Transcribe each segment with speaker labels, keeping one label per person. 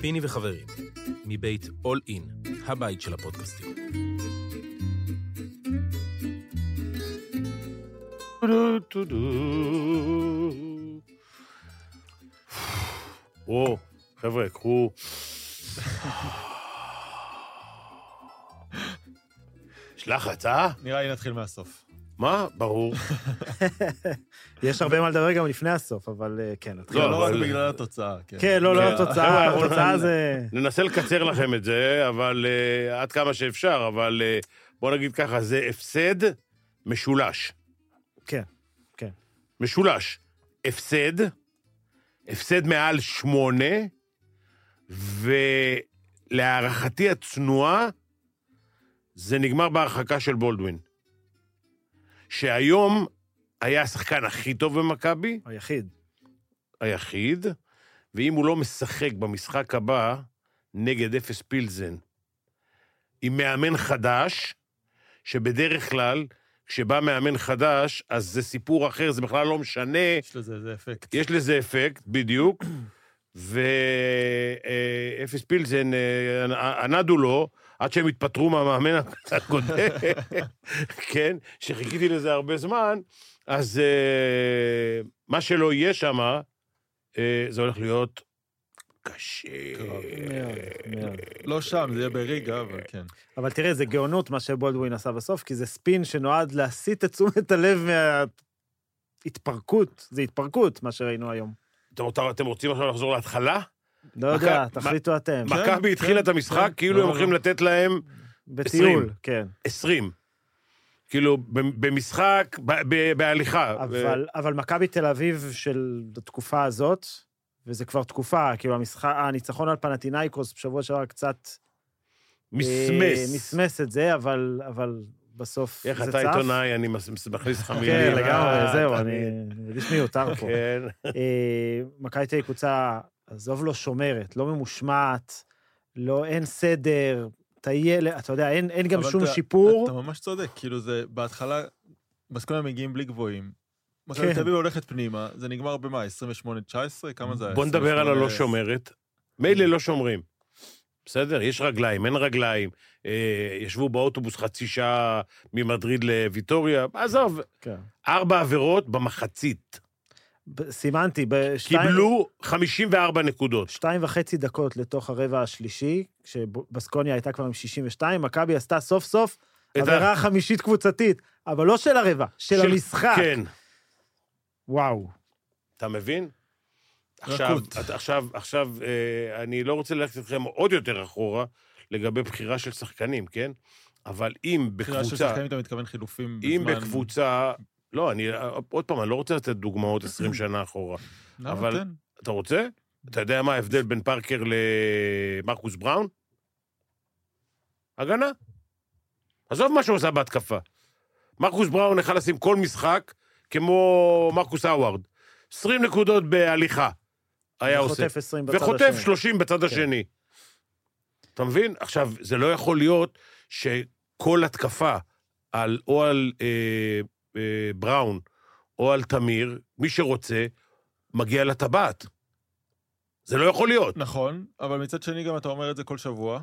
Speaker 1: פיני וחברים, מבית All In, הבית של הפודקאסטים.
Speaker 2: וואו, חבר'ה, קחו... יש לחץ, אה?
Speaker 3: נראה לי נתחיל מהסוף.
Speaker 2: מה? ברור.
Speaker 4: יש הרבה מה לדבר גם לפני הסוף, אבל אה, כן, נתחיל.
Speaker 2: לא,
Speaker 3: לא רק
Speaker 2: אבל-
Speaker 3: בגלל התוצאה, כן.
Speaker 4: כן, לא, לא
Speaker 2: כן. חבר'ה,
Speaker 4: התוצאה,
Speaker 2: אנחנו-
Speaker 4: התוצאה זה...
Speaker 2: ננסה לקצר לכם את זה, אבל אה, עד כמה שאפשר, אבל אה, בוא נגיד ככה, זה הפסד משולש.
Speaker 4: כן, כן.
Speaker 2: משולש. הפסד, הפסד מעל שמונה, ולהערכתי הצנועה, זה נגמר בהרחקה של בולדווין. שהיום היה השחקן הכי טוב במכבי,
Speaker 4: היחיד.
Speaker 2: היחיד, ואם הוא לא משחק במשחק הבא נגד אפס פילזן, עם מאמן חדש, שבדרך כלל, כשבא מאמן חדש, אז זה סיפור אחר, זה בכלל לא משנה,
Speaker 3: יש לזה איזה אפקט.
Speaker 2: יש לזה אפקט, בדיוק, ואפס פילזן, אה, ענדו לו, עד שהם התפטרו מהמאמן הקודם, כן, שחיכיתי לזה הרבה זמן, אז אה, מה שלא יהיה שם, זה הולך להיות קשה.
Speaker 3: קרב.
Speaker 4: מאוד, מאוד.
Speaker 3: לא שם, זה יהיה בריגה, אבל כן.
Speaker 4: אבל תראה, זה גאונות מה שבולדווין עשה בסוף, כי זה ספין שנועד להסיט את תשומת הלב מההתפרקות. זה התפרקות, מה שראינו היום.
Speaker 2: אתם- אתם- אתם רוצים עכשיו לחזור להתחלה?
Speaker 4: לא
Speaker 2: מכ-
Speaker 4: יודע,
Speaker 2: מה-
Speaker 4: תחליטו אתם.
Speaker 3: כן,
Speaker 2: מכבי
Speaker 3: כן,
Speaker 2: התחילה את המשחק
Speaker 3: כן.
Speaker 2: כאילו
Speaker 3: לא,
Speaker 2: הם
Speaker 3: לא,
Speaker 2: הולכים
Speaker 3: לא.
Speaker 2: לתת להם
Speaker 4: בטיול, כן.
Speaker 2: 20. כאילו, ב- במשחק, ב- ב- בהליכה.
Speaker 4: אבל, אבל מכבי תל אביב של התקופה הזאת, וזה כבר תקופה, כאילו המשחק, הניצחון על פנטינאיקוס בשבוע שעבר קצת... אה,
Speaker 2: מסמס.
Speaker 4: מסמס את זה, אבל, אבל בסוף
Speaker 2: איך
Speaker 4: זה
Speaker 2: אתה
Speaker 4: צף.
Speaker 2: עיתונאי, אני מס- מס- מכניס לך מילים.
Speaker 4: כן,
Speaker 2: אה,
Speaker 4: לגמרי,
Speaker 2: אתה
Speaker 4: זהו,
Speaker 2: מבין.
Speaker 4: אני אני מרגיש מיותר פה.
Speaker 2: כן.
Speaker 4: אה, מכבי תל אביב קבוצה, עזוב לא שומרת, לא ממושמעת, לא, אין סדר, טייל, אתה יודע, אין, אין גם
Speaker 3: אבל
Speaker 4: שום
Speaker 3: אתה-
Speaker 4: שיפור.
Speaker 3: אתה ממש צודק, כאילו זה, בהתחלה, בסקונה מגיעים בלי גבוהים.
Speaker 4: כן.
Speaker 3: מכבי תל אביב הולכת פנימה, זה נגמר במה? 28-19? כמה זה היה?
Speaker 2: בוא נדבר על
Speaker 3: 28?
Speaker 2: הלא שומרת. מילא לא שומרים. בסדר, יש רגליים, אין רגליים. אה, ישבו באוטובוס חצי שעה ממדריד לוויטוריה. עזוב,
Speaker 4: כן.
Speaker 2: ארבע עבירות במחצית.
Speaker 4: ב- סימנתי, בשתיים...
Speaker 2: קיבלו 54 נקודות.
Speaker 4: שתיים וחצי דקות לתוך הרבע השלישי, כשבסקוניה הייתה כבר עם 62, מכבי עשתה סוף סוף
Speaker 2: את ה-
Speaker 4: עבירה חמישית קבוצתית, אבל לא של הרבע, של,
Speaker 2: של-
Speaker 4: המשחק.
Speaker 2: כן.
Speaker 4: וואו.
Speaker 2: אתה מבין? עכשיו,
Speaker 3: רכות.
Speaker 2: את- עכשיו, עכשיו, אה, אני לא רוצה ללכת איתכם עוד יותר אחורה לגבי בחירה של שחקנים, כן? אבל אם
Speaker 3: בחירה של
Speaker 2: בקבוצה,
Speaker 3: שחקנים אתה מתכוון חילופים
Speaker 2: אם
Speaker 3: בזמן-
Speaker 2: בקבוצה... לא, אני, עוד פעם, אני לא רוצה לתת דוגמאות 20 שנה אחורה.
Speaker 3: למה?
Speaker 2: אבל-
Speaker 3: תן.
Speaker 2: אתה רוצה? אתה יודע מה ההבדל בין פארקר למרקוס בראון? הגנה. עזוב מה שהוא עשה בהתקפה. מרקוס בראון יכל לשים כל משחק כמו מרקוס האווארד. 20 נקודות בהליכה היה עושה.
Speaker 4: וחוטף 20 בצד
Speaker 2: וחוטף
Speaker 4: השני. כן.
Speaker 2: 30 בצד השני. אתה מבין? עכשיו, זה לא יכול להיות שכל התקפה על, או על אה, אה, בראון או על תמיר, מי שרוצה, מגיע לטבעת. זה לא יכול להיות.
Speaker 3: נכון, אבל מצד שני גם אתה אומר את זה כל שבוע,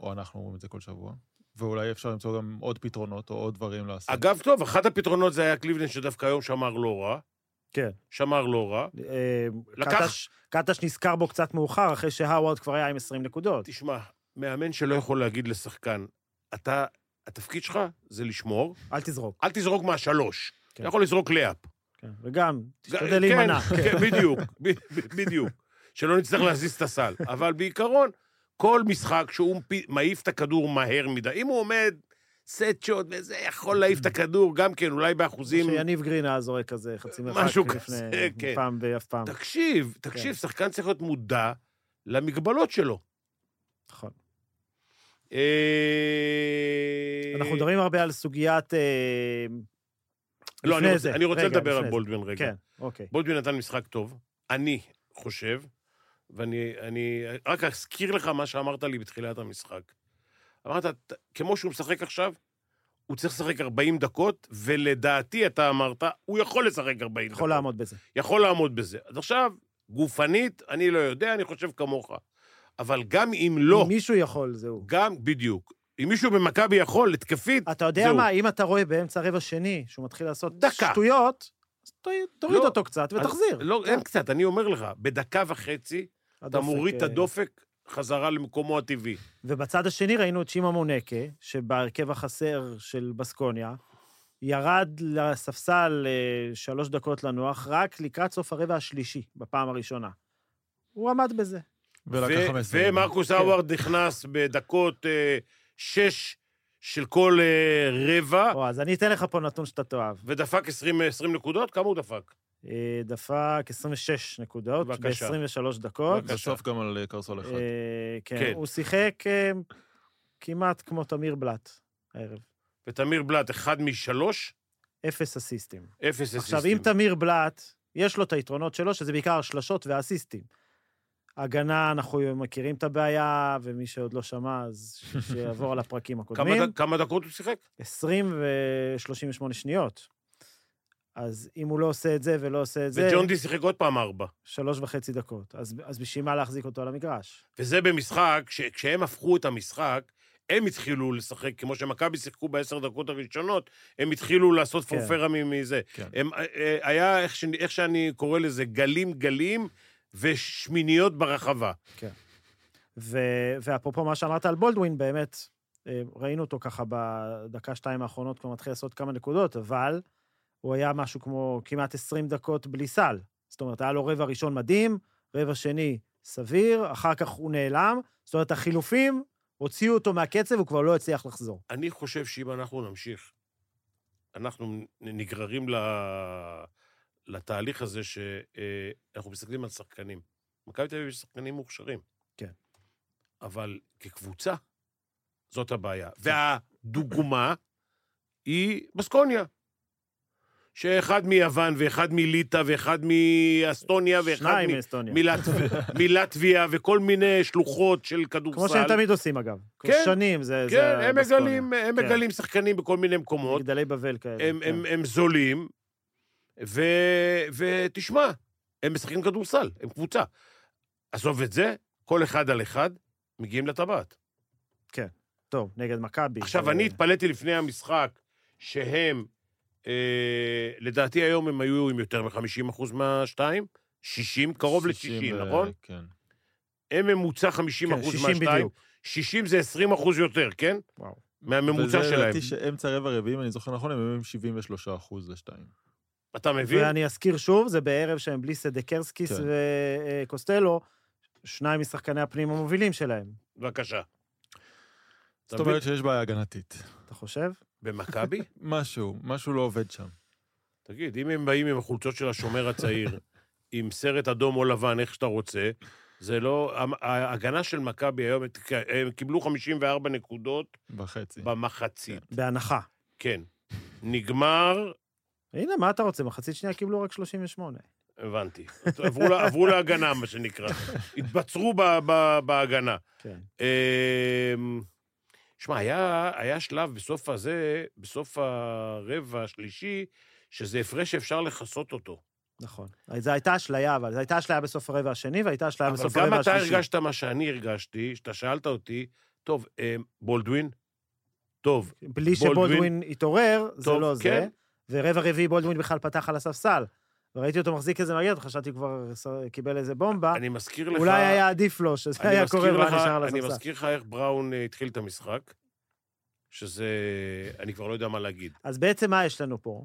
Speaker 3: או אנחנו אומרים את זה כל שבוע, ואולי אפשר למצוא גם עוד פתרונות או עוד דברים לעשות.
Speaker 2: אגב, טוב, אחד הפתרונות זה היה קליבלנד, שדווקא היום שמר לא רע.
Speaker 4: כן.
Speaker 2: שמר לא רע.
Speaker 4: אה,
Speaker 2: לקח-
Speaker 4: קטש- קטש נזכר בו קצת מאוחר, אחרי שהאווארד כבר היה עם 20 נקודות.
Speaker 2: תשמע, מאמן שלא יכול להגיד לשחקן, אתה, התפקיד שלך זה לשמור,
Speaker 4: אל תזרוק.
Speaker 2: אל תזרוק מהשלוש.
Speaker 4: כן.
Speaker 2: אתה יכול לזרוק לאפ.
Speaker 4: כן. וגם, תשתדל
Speaker 2: כן,
Speaker 4: להימנע.
Speaker 2: כן, בדיוק, ב- ב- בדיוק. שלא נצטרך להזיז את הסל. אבל בעיקרון, כל משחק שהוא מפי- מעיף את הכדור מהר מדי, אם הוא עומד סט שוט וזה, יכול להעיף את הכדור גם כן, אולי באחוזים...
Speaker 4: שיניב גרין היה זורק כזה חצי מרחק
Speaker 2: משהו
Speaker 4: לפני
Speaker 2: כזה, כן.
Speaker 4: פעם ואף פעם.
Speaker 2: תקשיב,
Speaker 4: כן.
Speaker 2: תקשיב, שחקן צריך להיות מודע למגבלות שלו.
Speaker 4: נכון.
Speaker 2: אה,
Speaker 4: אנחנו מדברים הרבה על סוגיית... אה,
Speaker 2: לא, אני
Speaker 4: לפני
Speaker 2: רוצה-
Speaker 4: זה.
Speaker 2: אני רוצה
Speaker 4: רגע,
Speaker 2: לדבר על
Speaker 4: לפני זה.
Speaker 2: בולדווין רגע.
Speaker 4: כן, אוקיי.
Speaker 2: בולדווין נתן משחק טוב, אני חושב, ואני אני, רק אזכיר לך מה שאמרת לי בתחילת המשחק. אמרת, "ת- כמו שהוא משחק עכשיו, הוא צריך לשחק 40 דקות, ולדעתי, אתה אמרת, הוא יכול לשחק 40 דקות.
Speaker 4: יכול לעמוד בזה.
Speaker 2: יכול לעמוד בזה. אז עכשיו, גופנית, אני לא יודע, אני חושב כמוך. אבל גם אם לא,
Speaker 4: אם מישהו יכול, זהו.
Speaker 2: גם, בדיוק. אם מישהו במכבי יכול, התקפית,
Speaker 4: אתה יודע
Speaker 2: זהו.
Speaker 4: מה, אם אתה רואה באמצע רבע שני שהוא מתחיל לעשות
Speaker 2: דקה.
Speaker 4: שטויות, אז ת- תוריד
Speaker 2: לא.
Speaker 4: אותו קצת ותחזיר.
Speaker 2: לא, אין קצת, אני אומר לך, בדקה וחצי, אתה
Speaker 4: הדופק,
Speaker 2: מוריד את
Speaker 4: אה,
Speaker 2: הדופק חזרה למקומו הטבעי.
Speaker 4: ובצד השני ראינו את שמעון מונקה, שבהרכב החסר של בסקוניה, ירד לספסל אה, שלוש דקות לנוח רק לקראת סוף הרבע השלישי, בפעם הראשונה. הוא עמד בזה.
Speaker 2: ו-
Speaker 3: ולקח 15.
Speaker 2: ומרקוס
Speaker 4: כן.
Speaker 2: האווארד נכנס בדקות אה, שש של כל אה, רבע,
Speaker 4: או, אז אני אתן לך פה נתון שאתה תאהב.
Speaker 2: ודפק 20 20 נקודות? כמה הוא דפק?
Speaker 4: אה, דפק 26 נקודות
Speaker 2: בבקשה.
Speaker 4: ב-23 דקות.
Speaker 2: בבקשה.
Speaker 3: בסוף גם על אה, קרסול אחד.
Speaker 4: אה, כן,
Speaker 2: כן.
Speaker 4: הוא שיחק אה, כמעט כמו תמיר בלאט הערב.
Speaker 2: ותמיר בלאט, אחד משלוש,
Speaker 4: אפס אסיסטים.
Speaker 2: אפס אסיסטים.
Speaker 4: עכשיו, אם תמיר בלאט, יש לו את היתרונות שלו, שזה בעיקר השלשות והאסיסטים. הגנה, אנחנו מכירים את הבעיה, ומי שעוד לא שמע, אז ש- שיעבור על הפרקים
Speaker 2: כמה,
Speaker 4: הקודמים.
Speaker 2: ד- כמה דקות הוא שיחק?
Speaker 4: 20 ו-38 שניות. אז אם הוא לא עושה את זה ולא עושה את זה,
Speaker 2: וג'ונדי שיחק עוד פעם ארבע.
Speaker 4: שלוש וחצי דקות. אז, אז בשביל מה להחזיק אותו על המגרש?
Speaker 2: וזה במשחק, שכשהם הפכו את המשחק, הם התחילו לשחק, כמו שמכבי שיחקו בעשר דקות הראשונות, הם התחילו לעשות
Speaker 4: כן.
Speaker 2: פורפרה מ- מזה.
Speaker 3: כן.
Speaker 2: הם, אה, אה, היה, איך, ש, איך שאני קורא לזה, גלים גלים ושמיניות ברחבה.
Speaker 4: ו, ואפרופו מה שאמרת על בולדווין, באמת, אה, ראינו אותו ככה בדקה-שתיים האחרונות, כבר מתחיל לעשות כמה נקודות, אבל הוא היה משהו כמו כמעט 20 דקות בלי סל. זאת אומרת, היה לו רבע ראשון מדהים, רבע שני סביר, אחר כך הוא נעלם. זאת אומרת, החילופים הוציאו אותו מהקצב, הוא כבר לא הצליח לחזור.
Speaker 2: אני חושב שאם אנחנו נמשיך, אנחנו נגררים ל... לתהליך הזה שאנחנו מסתכלים על שחקנים. מכבי תל אביב יש שחקנים מוכשרים.
Speaker 4: כן.
Speaker 2: אבל כקבוצה, זאת הבעיה.
Speaker 4: כן.
Speaker 2: והדוגמה היא בסקוניה. שאחד מיוון, ואחד מליטא, ואחד מאסטוניה, ואחד
Speaker 4: שניים
Speaker 2: מ-
Speaker 4: מאסטוניה.
Speaker 2: מלטב- מלטביה, וכל מיני שלוחות של כדורסל.
Speaker 4: כמו שהם תמיד עושים, אגב. כבר
Speaker 2: כן,
Speaker 4: שנים, זה... זה
Speaker 2: כן, הם
Speaker 4: הבסקוניה.
Speaker 2: מגלים, הם
Speaker 4: כן.
Speaker 2: מגלים שחקנים בכל מיני מקומות,
Speaker 4: מגדלי בבל כאלה.
Speaker 2: הם,
Speaker 4: כן.
Speaker 2: הם, הם זולים, ו, ותשמע, הם משחקים כדורסל, הם קבוצה. עזוב את זה, כל אחד על אחד, מגיעים לטבעת.
Speaker 4: טוב, נגד מכבי.
Speaker 2: עכשיו,
Speaker 4: אה,
Speaker 2: אני התפלאתי לפני המשחק שהם, אה, לדעתי היום הם היו עם יותר מ-50% מהשתיים, 60, קרוב
Speaker 3: שישים,
Speaker 2: ל-60,
Speaker 3: אה,
Speaker 2: נכון?
Speaker 3: כן.
Speaker 2: הם ממוצע 50%
Speaker 4: כן, 60
Speaker 2: מהשתיים,
Speaker 4: בדיוק.
Speaker 2: 60 זה 20% יותר, כן?
Speaker 4: וואו.
Speaker 2: מהממוצע
Speaker 3: וזה
Speaker 2: שלהם.
Speaker 3: לדעתי שאמצע רבע רביעי, אם אני זוכר נכון, הם היו עם 73 אחוז לשתיים.
Speaker 2: אתה מבין?
Speaker 4: ואני אזכיר שוב, זה בערב שהם בלי סדקרסקיס
Speaker 3: כן.
Speaker 4: וקוסטלו, שניים משחקני הפנים המובילים שלהם.
Speaker 2: בבקשה.
Speaker 3: זאת אומרת שיש בעיה הגנתית.
Speaker 4: אתה חושב?
Speaker 2: במכבי?
Speaker 3: משהו, משהו לא עובד שם.
Speaker 2: תגיד, אם הם באים עם החולצות של השומר הצעיר, עם סרט אדום או לבן, איך שאתה רוצה, זה לא... המ- ההגנה של מכבי היום, הם קיבלו 54 נקודות
Speaker 3: וחצי.
Speaker 2: במחצית.
Speaker 4: בהנחה.
Speaker 2: כן. נגמר,
Speaker 4: הנה, מה אתה רוצה? מחצית שנייה קיבלו רק 38.
Speaker 2: הבנתי. עברו לה- עברו להגנה, מה שנקרא. התבצרו ב- ב- בהגנה.
Speaker 4: כן.
Speaker 2: אמ, שמע, היה, היה שלב בסוף הזה, בסוף הרבע השלישי, שזה הפרש שאפשר לכסות אותו.
Speaker 4: נכון. זו הייתה אשליה, אבל זו הייתה אשליה בסוף הרבע השני, והייתה אשליה
Speaker 2: אבל
Speaker 4: בסוף
Speaker 2: גם
Speaker 4: הרבע
Speaker 2: אתה
Speaker 4: השלישי.
Speaker 2: הרגשת מה שאני הרגשתי, שאתה שאלת אותי, טוב, אה, בולדווין? טוב,
Speaker 4: בלי
Speaker 2: בולדווין.
Speaker 4: שבולדווין התעורר, זה
Speaker 2: טוב,
Speaker 4: לא זה.
Speaker 2: כן.
Speaker 4: ורבע רביעי בולדווין בכלל פתח על הספסל. וראיתי אותו מחזיק איזה מגן, חשבתי כבר ס- קיבל איזה בומבה.
Speaker 2: אני מזכיר לך...
Speaker 4: אה, אולי היה עדיף לו שזה
Speaker 2: אני
Speaker 4: היה
Speaker 2: מזכיר
Speaker 4: קורה והוא
Speaker 2: לך-
Speaker 4: היה נשאר על
Speaker 2: אני
Speaker 4: הספסל.
Speaker 2: מזכיר לך איך בראון אה, התחיל את המשחק, שזה... אני כבר לא יודע מה להגיד.
Speaker 4: אז בעצם מה יש לנו פה?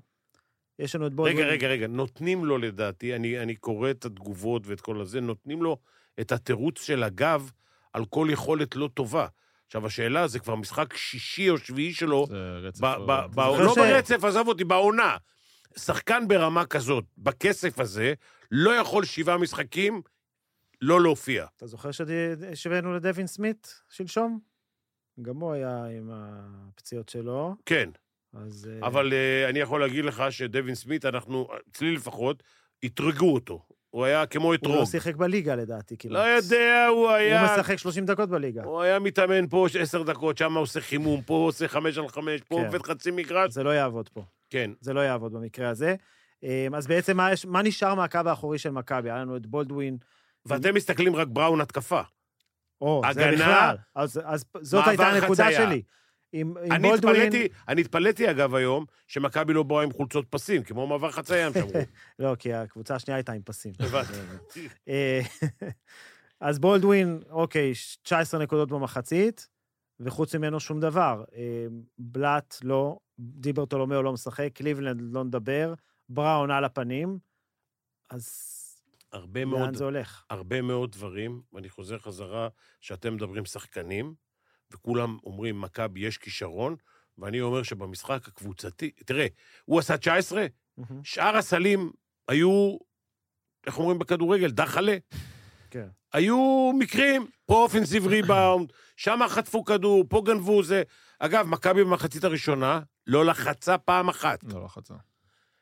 Speaker 4: יש לנו את בולדווין.
Speaker 2: רגע, רגע, רגע, נותנים לו לדעתי, אני, אני קורא את התגובות ואת כל הזה, נותנים לו את התירוץ של הגב על כל יכולת לא טובה. עכשיו, השאלה, זה כבר משחק שישי או שביעי שלו,
Speaker 3: זה רצף...
Speaker 2: ב- ב-
Speaker 3: לא-
Speaker 2: ב-
Speaker 4: זוכר
Speaker 2: לא
Speaker 4: ש-
Speaker 2: ברצף, עזב אותי, בעונה. שחקן ברמה כזאת, בכסף הזה, לא יכול שבעה משחקים לא להופיע.
Speaker 4: אתה זוכר שד- שהבאנו לדווין סמית שלשום? גם הוא היה עם הפציעות שלו,
Speaker 2: כן,
Speaker 4: אז... אה,
Speaker 2: אבל אה, אני יכול להגיד לך שדווין סמית, אנחנו, אצלי לפחות, אתרגו אותו. הוא היה כמו
Speaker 4: הוא לא
Speaker 2: אתרוג.
Speaker 4: שיחק בליגה לדעתי, כמעט.
Speaker 2: לא יודע, הוא היה...
Speaker 4: הוא משחק 30 דקות בליגה.
Speaker 2: הוא היה מתאמן פה עשר דקות, שם עושה חימום, פה עושה חמש על חמש, פה
Speaker 4: כן.
Speaker 2: עובד חצי מגרש.
Speaker 4: זה לא יעבוד פה.
Speaker 2: כן.
Speaker 4: זה לא יעבוד במקרה הזה. אה, אז בעצם מה, יש- מה נשאר מהקו האחורי של מכבי? היה לנו את בולדווין,
Speaker 2: ואתם מסתכלים רק בראון התקפה.
Speaker 4: או, זה
Speaker 2: הגנה,
Speaker 4: בכלל. אז, אז זאת
Speaker 2: מעבר
Speaker 4: הייתה הנקודה
Speaker 2: חצייה.
Speaker 4: שלי. עם, עם
Speaker 2: אני
Speaker 4: בולדווין...
Speaker 2: התפלאתי, אני התפלאתי, אגב, היום, שמכבי לא באה עם חולצות פסים, כמו מעבר חצייה, הם שמרו.
Speaker 4: לא, כי הקבוצה השנייה הייתה עם פסים.
Speaker 2: הבנתי.
Speaker 4: אה, אז בולדווין, אוקיי, 19 נקודות במחצית, וחוץ ממנו שום דבר. אה, בלאט, לא, דיברטולומיאו לא משחק, קליבלנד, לא נדבר, בראון על הפנים, אז
Speaker 2: הרבה
Speaker 4: לאן
Speaker 2: אה, מאוד
Speaker 4: זה הולך?
Speaker 2: הרבה מאוד דברים, ואני חוזר חזרה, שאתם מדברים שחקנים, וכולם אומרים, מכבי יש כישרון, ואני אומר שבמשחק הקבוצתי, תראה, הוא עשה 19,
Speaker 4: מהמם.
Speaker 2: שאר הסלים היו, איך אומרים בכדורגל, דחלה.
Speaker 4: כן.
Speaker 2: היו מקרים, פה אופנסיב ריבאונד, שם חטפו כדור, פה גנבו זה. אגב, מכבי במחצית הראשונה לא לחצה פעם אחת.
Speaker 3: לא לחצה.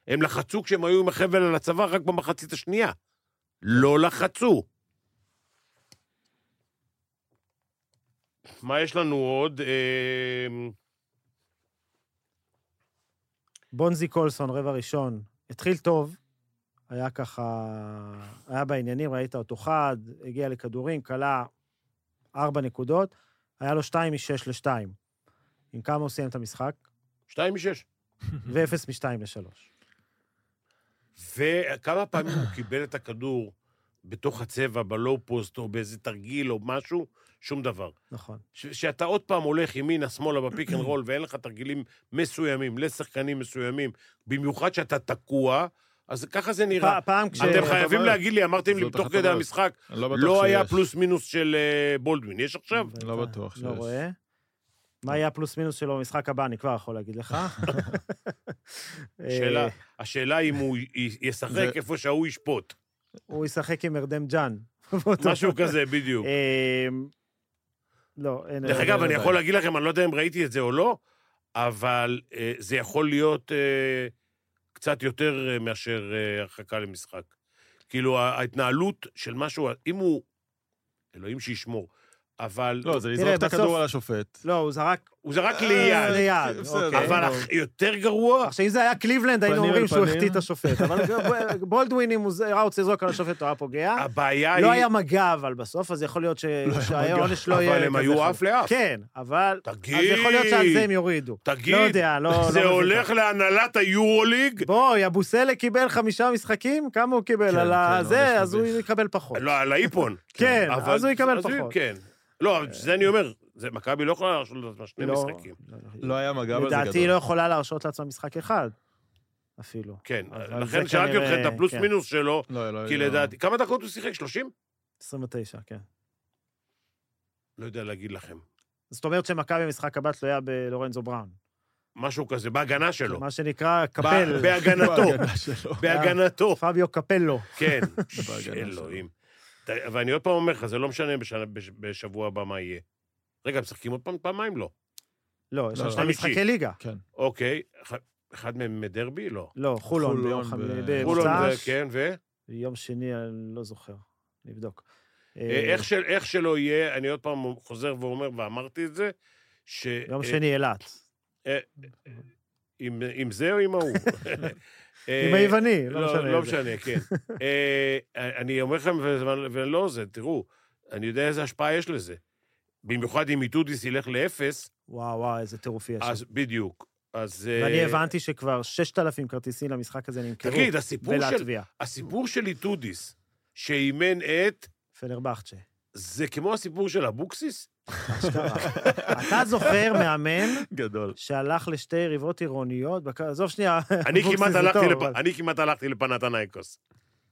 Speaker 2: הם לחצו כשהם היו עם החבל על הצוואר רק במחצית השנייה. לא לחצו. מה יש לנו עוד? אה,
Speaker 4: בונזי קולסון, רבע ראשון, התחיל טוב, היה ככה, היה בעניינים, ראית אותו חד, הגיע לכדורים, כלה ארבע נקודות, היה לו שתיים משש לשתיים. עם כמה הוא סיים את המשחק?
Speaker 2: שתיים משש.
Speaker 4: ואפס משתיים לשלוש.
Speaker 2: וכמה פעמים הוא קיבל את הכדור בתוך הצבע, בלואו פוסט, או באיזה תרגיל או משהו? שום דבר.
Speaker 4: נכון.
Speaker 2: ש- שאתה עוד פעם הולך ימינה, שמאלה, בפיק אנד רול, ואין לך תרגילים מסוימים לשחקנים מסוימים, במיוחד שאתה תקוע, אז ככה זה נראה.
Speaker 3: אה,
Speaker 4: פ- פעם כש...
Speaker 2: אתם
Speaker 3: אחת
Speaker 2: חייבים
Speaker 3: הבעיות.
Speaker 2: להגיד לי, אמרתם לי
Speaker 3: זאת
Speaker 2: תוך
Speaker 3: אחת
Speaker 2: כדי
Speaker 3: הבעיות.
Speaker 2: המשחק,
Speaker 3: אני לא בטוח
Speaker 2: לא היה
Speaker 3: שיש.
Speaker 2: פלוס מינוס של אה, בולדווין. יש עכשיו?
Speaker 3: לא בטוח
Speaker 4: לא
Speaker 3: שיש.
Speaker 4: רואה. מה יהיה הפלוס מינוס שלו במשחק הבא, אני כבר יכול להגיד לך.
Speaker 3: אה?
Speaker 2: שאלה.
Speaker 4: אה,
Speaker 2: השאלה אם הוא י- י- ישחק
Speaker 3: זה-
Speaker 2: איפה שההוא ישפוט.
Speaker 4: הוא ישחק עם ארדם ג'אן. באותו-
Speaker 2: משהו כזה, בדיוק.
Speaker 4: אה, לא, אין...
Speaker 2: דרך
Speaker 4: אין-
Speaker 2: אגב,
Speaker 4: אין-
Speaker 2: אני
Speaker 3: בעיה.
Speaker 2: יכול להגיד לכם, אני לא יודע אם ראיתי את זה או לא, אבל אה, זה יכול להיות אה, קצת יותר אה, מאשר אה, הרחקה למשחק. כאילו, ה- ההתנהלות של משהו, אם הוא... אלוהים שישמור. אבל...
Speaker 3: לא, זה
Speaker 4: תראה,
Speaker 3: לזרוק את
Speaker 4: בסוף-
Speaker 3: הכדור על השופט.
Speaker 4: לא, הוא זרק
Speaker 2: הוא זרק
Speaker 4: אה,
Speaker 2: ליד.
Speaker 4: ליד,
Speaker 3: בסדר.
Speaker 4: אוקיי.
Speaker 2: אבל
Speaker 3: אוקיי.
Speaker 2: אח- יותר גרוע,
Speaker 4: עכשיו, אם זה היה קליבלנד, היינו
Speaker 3: פנים
Speaker 4: אומרים
Speaker 3: אל
Speaker 4: שהוא
Speaker 3: פנים.
Speaker 4: החטיא את השופט. אבל בולדווין, אם הוא ז- היה רוצה לזרוק על השופט, הוא היה פוגע.
Speaker 2: הבעיה היא...
Speaker 4: לא היה מגע, אבל בסוף, אז יכול להיות ש- שהעונש לא יהיה...
Speaker 2: אבל הם
Speaker 4: כזה
Speaker 2: היו
Speaker 4: חמור.
Speaker 2: אף לאף.
Speaker 4: כן, אבל...
Speaker 2: תגיד,
Speaker 4: אז יכול להיות שעל זה הם יורידו. לא
Speaker 2: תגיד,
Speaker 4: יודע, לא... לא
Speaker 2: זה
Speaker 4: מבין
Speaker 2: הולך
Speaker 4: ככה.
Speaker 2: להנהלת היורוליג?
Speaker 4: בואי, אבוסלה קיבל חמישה משחקים, כמה הוא קיבל
Speaker 3: כן,
Speaker 4: על
Speaker 3: כן,
Speaker 4: הזה,
Speaker 3: עונש
Speaker 4: אז הוא
Speaker 3: מביך.
Speaker 4: יקבל פחות.
Speaker 2: לא, על האיפון.
Speaker 4: כן,
Speaker 2: אבל-
Speaker 4: אז הוא יקבל
Speaker 2: אז
Speaker 4: פחות. אה.
Speaker 2: כן. לא, אבל זה אני אומר, זה- מכבי לא יכולה להרשות לעצמה שני
Speaker 4: לא-
Speaker 2: משחקים.
Speaker 3: לא היה מגע, אבל זה גדול.
Speaker 4: לדעתי היא לא יכולה להרשות לעצמה משחק אחד, אפילו.
Speaker 2: כן,
Speaker 4: אבל
Speaker 2: לכן
Speaker 4: זה
Speaker 2: שאלתי
Speaker 4: כנראה-
Speaker 2: אתכם את הפלוס
Speaker 4: כן.
Speaker 2: מינוס שלו,
Speaker 3: לא, לא,
Speaker 2: כי
Speaker 3: לא.
Speaker 2: לדעתי... כמה דקות הוא שיחק? 30?
Speaker 4: 29, כן.
Speaker 2: לא יודע להגיד לכם.
Speaker 4: זאת אומרת שמכבי במשחק הבא תלויה בלורנזו בראון.
Speaker 2: משהו כזה, בהגנה שלו.
Speaker 4: מה שנקרא
Speaker 2: ב-
Speaker 4: קפל,
Speaker 2: בהגנתו,
Speaker 3: בהגנה לא שלו.
Speaker 2: בהגנתו.
Speaker 4: פביו קפלו.
Speaker 2: כן,
Speaker 3: בהגנה
Speaker 2: אלוהים. ת- ואני עוד פעם אומר לך, זה לא משנה בשנה- בש- בשבוע הבא מה יהיה. רגע, משחקים עוד פעם? פעמיים לא.
Speaker 4: לא, יש
Speaker 3: לא,
Speaker 4: לנו שני
Speaker 2: חמישי.
Speaker 4: משחקי ליגה.
Speaker 3: כן.
Speaker 2: אוקיי, אח- אחד מהם דרבי? לא.
Speaker 4: לא, חולון
Speaker 3: חולון
Speaker 4: ביום חמ-
Speaker 3: ב-
Speaker 2: חולון זה,
Speaker 4: במוצ"ש,
Speaker 2: כן, ו...
Speaker 4: יום שני, אני לא זוכר, נבדוק.
Speaker 2: אה,
Speaker 4: אה,
Speaker 2: איך, של, איך שלא יהיה, אני עוד פעם חוזר ואומר, ואמרתי את זה, ש...
Speaker 4: יום
Speaker 2: אה,
Speaker 4: שני אילת.
Speaker 2: עם, עם זה או עם ההוא? אה,
Speaker 4: עם היווני, לא משנה.
Speaker 2: לא, לא
Speaker 4: איזה.
Speaker 2: משנה, כן. אה, אני אומר לכם, וזה- ולא זה, תראו, אני יודע איזה השפעה יש לזה. במיוחד אם איתודיס ילך לאפס,
Speaker 4: וואו, וואו, איזה טירוף יש.
Speaker 2: אז בדיוק. אז... אה,
Speaker 4: ואני הבנתי שכבר 6,000 כרטיסים למשחק הזה נמכרו.
Speaker 2: תגיד, הסיפור של,
Speaker 4: בלטביה,
Speaker 2: הסיפור של איתודיס, שאימן את,
Speaker 4: פנרבחצ'ה.
Speaker 2: זה כמו הסיפור של אבוקסיס?
Speaker 4: אשכרה. אתה זוכר מאמן
Speaker 3: גדול.
Speaker 4: שהלך לשתי יריבות עירוניות? בק- עזוב שנייה,
Speaker 2: אני
Speaker 4: אבוקסיס
Speaker 2: כמעט
Speaker 4: זה
Speaker 2: הלכתי
Speaker 4: טוב,
Speaker 2: לפ-
Speaker 4: אבל-
Speaker 2: אני כמעט הלכתי לפנתנייקוס.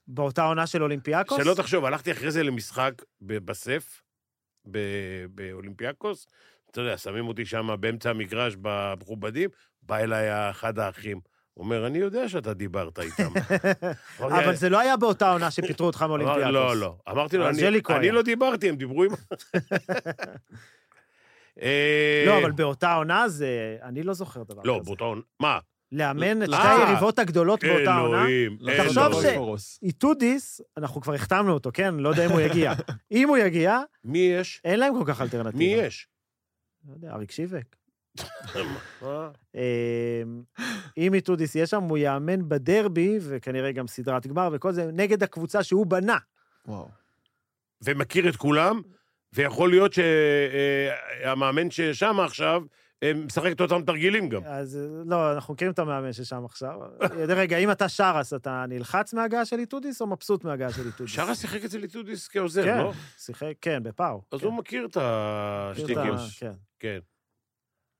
Speaker 4: באותה עונה של אולימפיאקוס?
Speaker 2: שלא תחשוב, הלכתי אחרי זה למשחק ב- בסף, ב- באולימפיאקוס, אתה יודע, שמים אותי שם באמצע המגרש במכובדים, בא אליי אחד האחים, אומר, אני יודע שאתה דיברת איתם. אמרתי,
Speaker 4: אבל זה לא היה באותה עונה שפיטרו אותך
Speaker 2: אמר,
Speaker 4: מאולימפיאקוס.
Speaker 2: אה, לא, לא. אמרתי לו,
Speaker 4: אבל
Speaker 2: "אני-
Speaker 4: ז'ליקו
Speaker 2: אני
Speaker 4: היה."
Speaker 2: לא דיברתי, הם דיברו עם... אה,
Speaker 4: לא, אבל באותה עונה זה... אני לא זוכר דבר
Speaker 2: לא,
Speaker 4: כזה.
Speaker 2: באותה עונה. מה?
Speaker 4: לאמן את
Speaker 2: אה,
Speaker 4: שתי היריבות הגדולות באותה עונה.
Speaker 2: אלוהים,
Speaker 3: לקחת
Speaker 4: תחשוב
Speaker 3: בראש
Speaker 4: ש-
Speaker 2: אלוהים.
Speaker 3: בראש.
Speaker 4: איתודיס, אנחנו כבר החתמנו אותו, כן? לא יודע אם הוא יגיע. אם הוא יגיע,
Speaker 2: מי יש?
Speaker 4: אין להם כל כך
Speaker 2: מי
Speaker 4: אלטרנטיבה.
Speaker 2: יש?
Speaker 4: לא יודע, אריק שיבק.
Speaker 2: מה?
Speaker 4: אמ, אם איתודיס יהיה שם, הוא יאמן בדרבי, וכנראה גם סדרת גמר וכל זה, נגד הקבוצה שהוא בנה.
Speaker 3: וואו.
Speaker 2: ומכיר את כולם, ויכול להיות שהמאמן ששם עכשיו, אה, משחק את אותם תרגילים גם.
Speaker 4: אז אה, לא, אנחנו מכירים את המאמן ששם עכשיו. רגע, אם אתה שרס, אתה נלחץ מההגעה של איטודיס או מבסוט מההגעה של איטודיס?
Speaker 2: שרה שיחק אצל איטודיס כעוזר,
Speaker 4: כן,
Speaker 2: לא?
Speaker 4: שיחק, כן, בפאו.
Speaker 2: אז
Speaker 4: כן.
Speaker 2: הוא מכיר את
Speaker 4: מכיר את ה-
Speaker 2: השטיקים.
Speaker 4: כן,
Speaker 2: כן.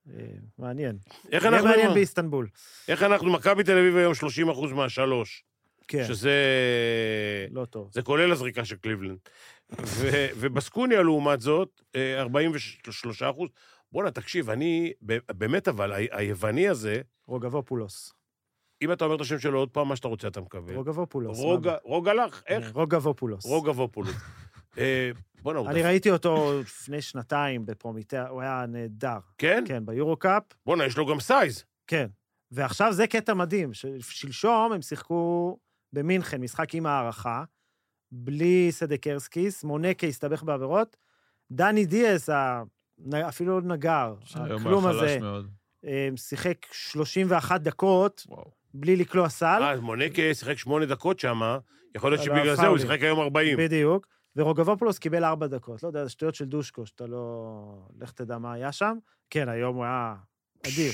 Speaker 4: אה, מעניין.
Speaker 2: איך
Speaker 4: יהיה
Speaker 2: אנחנו,
Speaker 4: מעניין באיסטנבול.
Speaker 2: איך אנחנו, מכבי תל אביב היום 30 אחוז מהשלוש,
Speaker 4: כן,
Speaker 2: שזה...
Speaker 4: לא טוב.
Speaker 2: זה כולל הזריקה של קליבלנד. ו- ובסקוניה, לעומת זאת, אה, 43 אחוז. בואנה, תקשיב, אני, ב- באמת, אבל, ה- היווני הזה,
Speaker 4: רוגבופולוס.
Speaker 2: אם אתה אומר את השם שלו עוד פעם, מה שאתה רוצה אתה מקבל.
Speaker 4: רוגבופולוס. אה,
Speaker 2: רוגה, רוגה לך,
Speaker 4: כן.
Speaker 2: איך?
Speaker 4: רוגבופולוס.
Speaker 2: רוגה וופולוס. אה, בואנה, הוא...
Speaker 4: אני
Speaker 2: דפק.
Speaker 4: ראיתי אותו לפני שנתיים בפרומיטה, הוא היה נהדר.
Speaker 2: כן?
Speaker 4: כן, ביורו-קאפ,
Speaker 2: בואנה, יש לו גם סייז.
Speaker 4: כן. ועכשיו זה קטע מדהים, ששלשום הם שיחקו במינכן, משחק עם הערכה, בלי סדק ארסקיס, מונקה הסתבך בעבירות, דני דיאס, ה... אפילו לא נגר,
Speaker 3: שהיום הוא
Speaker 4: הכלום
Speaker 3: היה
Speaker 4: הזה,
Speaker 3: חלש מאוד.
Speaker 4: אה, שיחק 31 דקות
Speaker 3: וואו.
Speaker 4: בלי לקלוע סל.
Speaker 2: אה, אז מונקה שיחק שמונה דקות שמה, יכול להיות
Speaker 4: אבל
Speaker 2: שבגלל זה הוא
Speaker 4: הפאולים.
Speaker 2: ישחק היום 40.
Speaker 4: בדיוק. ורוגבופולוס קיבל ארבע דקות. לא יודע, זה שטויות של דושקו, שאתה לא... לך תדע מה היה שם. כן, היום הוא היה אדיר,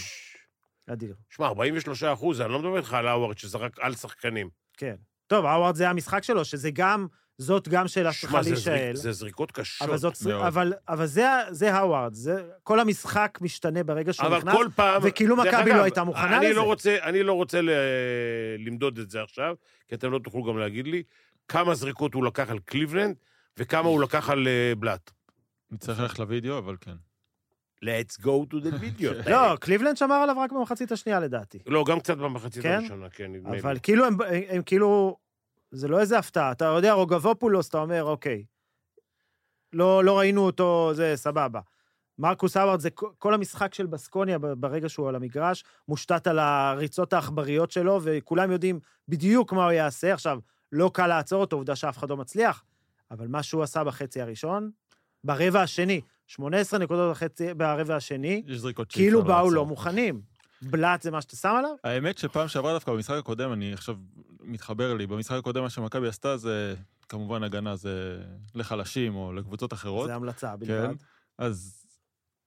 Speaker 4: אדיר.
Speaker 2: שמע, 43 אחוז, אני לא מדבר איתך על האווארד שזרק על שחקנים.
Speaker 4: כן. טוב, האווארד זה המשחק שלו, שזה גם... זאת גם שאלה
Speaker 2: שמע,
Speaker 4: שצריכה
Speaker 2: זה זריק-
Speaker 4: להישאל.
Speaker 2: זה זריקות קשות.
Speaker 4: אבל, זאת,
Speaker 3: מאוד.
Speaker 4: אבל, אבל זה, זה האווארד, זה, כל המשחק משתנה ברגע שהוא
Speaker 2: אבל
Speaker 4: נכנס.
Speaker 2: כל פעם...
Speaker 4: וכאילו
Speaker 2: דרך
Speaker 4: מכבי לא
Speaker 2: אגב,
Speaker 4: הייתה מוכנה
Speaker 2: אני
Speaker 4: לזה.
Speaker 2: לא רוצה, אני לא רוצה ל... למדוד את זה עכשיו, כי אתם לא תוכלו גם להגיד לי כמה זריקות הוא לקח על קליבלנד וכמה הוא לקח על אה, בלאט.
Speaker 3: נצטרך ללכת לוידאו, אבל כן.
Speaker 2: Let's go to the video.
Speaker 4: לא, קליבלנד שמר עליו רק במחצית השנייה לדעתי.
Speaker 2: לא, גם קצת במחצית
Speaker 4: כן?
Speaker 2: הראשונה, כן, נדמה לי.
Speaker 4: אבל כאילו, הם, הם, הם כאילו, זה לא איזה הפתעה. אתה יודע, רוגבופולוס, אתה אומר, אוקיי, לא, לא ראינו אותו, זה סבבה. מרקוס האווארד, זה כל- כל המשחק של בסקוניה ב- ברגע שהוא על המגרש, מושתת על הריצות העכבריות שלו, וכולם יודעים בדיוק מה הוא יעשה. עכשיו, לא קל לעצור אותו, עובדה שאף אחד לא מצליח, אבל מה שהוא עשה בחצי הראשון, ברבע השני, 18 נקודות בחצי, ברבע השני,
Speaker 3: יש זריקות שאי
Speaker 4: כאילו
Speaker 3: אפשר
Speaker 4: באו
Speaker 3: לא, לעצור.
Speaker 4: לא מוכנים. בלאט זה מה שאתה שם עליו?
Speaker 3: האמת שפעם שעברה דווקא במשחק הקודם, אני עכשיו מתחבר לי, במשחק הקודם מה שמכבי עשתה זה כמובן הגנה זה לחלשים או לקבוצות אחרות.
Speaker 4: זה המלצה בלבד.
Speaker 3: כן. אז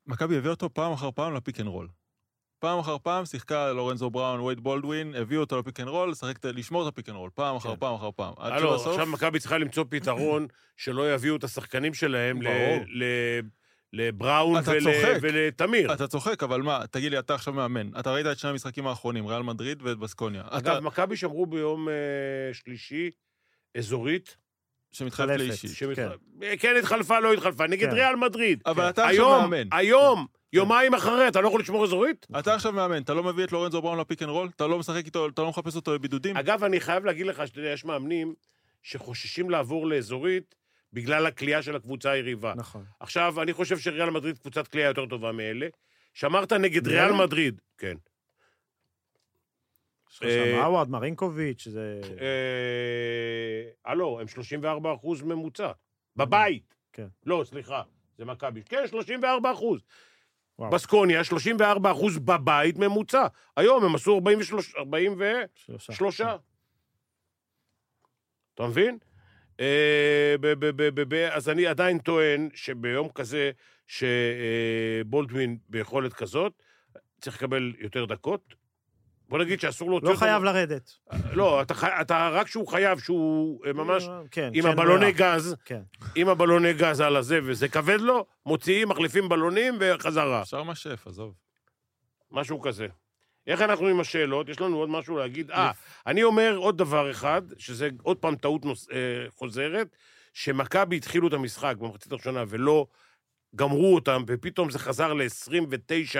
Speaker 3: מכבי הביאה אותו פעם אחר פעם לפיק אנד רול. פעם אחר פעם שיחקה לורנזו בראון, וייד בולדווין, הביאו אותו לפיק אנד רול, לשחק את- לשמור את הפיק אנד רול, פעם אחר
Speaker 4: כן.
Speaker 3: פעם אחר פעם. עד
Speaker 2: הלו,
Speaker 3: שבסוף,
Speaker 2: עכשיו מכבי צריכה למצוא פתרון שלא יביאו את השחקנים שלהם ל-
Speaker 3: ברור.
Speaker 2: ל- לבראון
Speaker 3: אתה
Speaker 2: ול-
Speaker 3: צוחק.
Speaker 2: ולתמיר.
Speaker 3: אתה צוחק, אבל מה, תגיד לי, אתה עכשיו מאמן. אתה ראית את שני המשחקים האחרונים, ריאל מדריד ואת בסקוניה. אתה,
Speaker 2: אגב, מכבי שמרו ביום אה, שלישי אזורית,
Speaker 4: כן.
Speaker 3: שמתחלף
Speaker 4: חלפת.
Speaker 3: לאישית.
Speaker 2: שמת- אה, כן התחלפה, לא התחלפה, נגד
Speaker 4: כן.
Speaker 2: ריאל מדריד.
Speaker 3: אבל אתה עכשיו
Speaker 2: היום,
Speaker 3: מאמן. כן.
Speaker 2: היום, יומיים אחרי, אתה לא יכול לשמור אזורית?
Speaker 3: אתה עכשיו מאמן, אתה לא מביא את לורנזו בראון לפיק אנד רול? אתה לא משחק איתו, אתה לא מחפש אותו לבידודים?
Speaker 2: אגב, אני חייב להגיד לך, שאתה יודע, יש מאמנים שחוששים לעבור לאזורית בגלל הכלייה של הקבוצה היריבה.
Speaker 4: נכון.
Speaker 2: עכשיו, אני חושב שריאל מדריד קבוצת קליעה יותר טובה מאלה. שמרת נגד ריאל מדריד, כן.
Speaker 4: יש לך שם
Speaker 2: אה, כן.
Speaker 4: האווארד, מרינקוביץ', זה...
Speaker 2: אה, הלו, הם 34 אחוז ממוצע. בבית.
Speaker 4: כן.
Speaker 2: לא, סליחה, זה מכבי. כן, 34 אחוז.
Speaker 4: וואו.
Speaker 2: בסקוניה, 34 אחוז בבית ממוצע. היום הם עשו 43, 43.
Speaker 4: שלושה. כן.
Speaker 2: אתה מבין? אה, ב- ב- ב- ב- ב- אז אני עדיין טוען שביום כזה, שבולדווין ביכולת כזאת, צריך לקבל יותר דקות. בוא נגיד שאסור להוציא
Speaker 4: לא
Speaker 2: אותו...
Speaker 4: חייב לרדת.
Speaker 2: לא, אתה, חי- אתה רק שהוא חייב, שהוא אה, ממש...
Speaker 4: כן,
Speaker 2: עם
Speaker 4: כן,
Speaker 2: הבלוני
Speaker 4: ברירה.
Speaker 2: גז,
Speaker 4: כן.
Speaker 2: עם הבלוני גז על הזה, וזה כבד לו, מוציאים, מחליפים בלונים וחזרה.
Speaker 3: אפשר מה שף, עזוב.
Speaker 2: משהו כזה. איך אנחנו עם השאלות? יש לנו עוד משהו להגיד. אה, אני אומר עוד דבר אחד, שזה עוד פעם טעות נוס... אה, חוזרת, שמכבי התחילו את המשחק במחצית הראשונה ולא גמרו אותם, ופתאום זה חזר ל-29,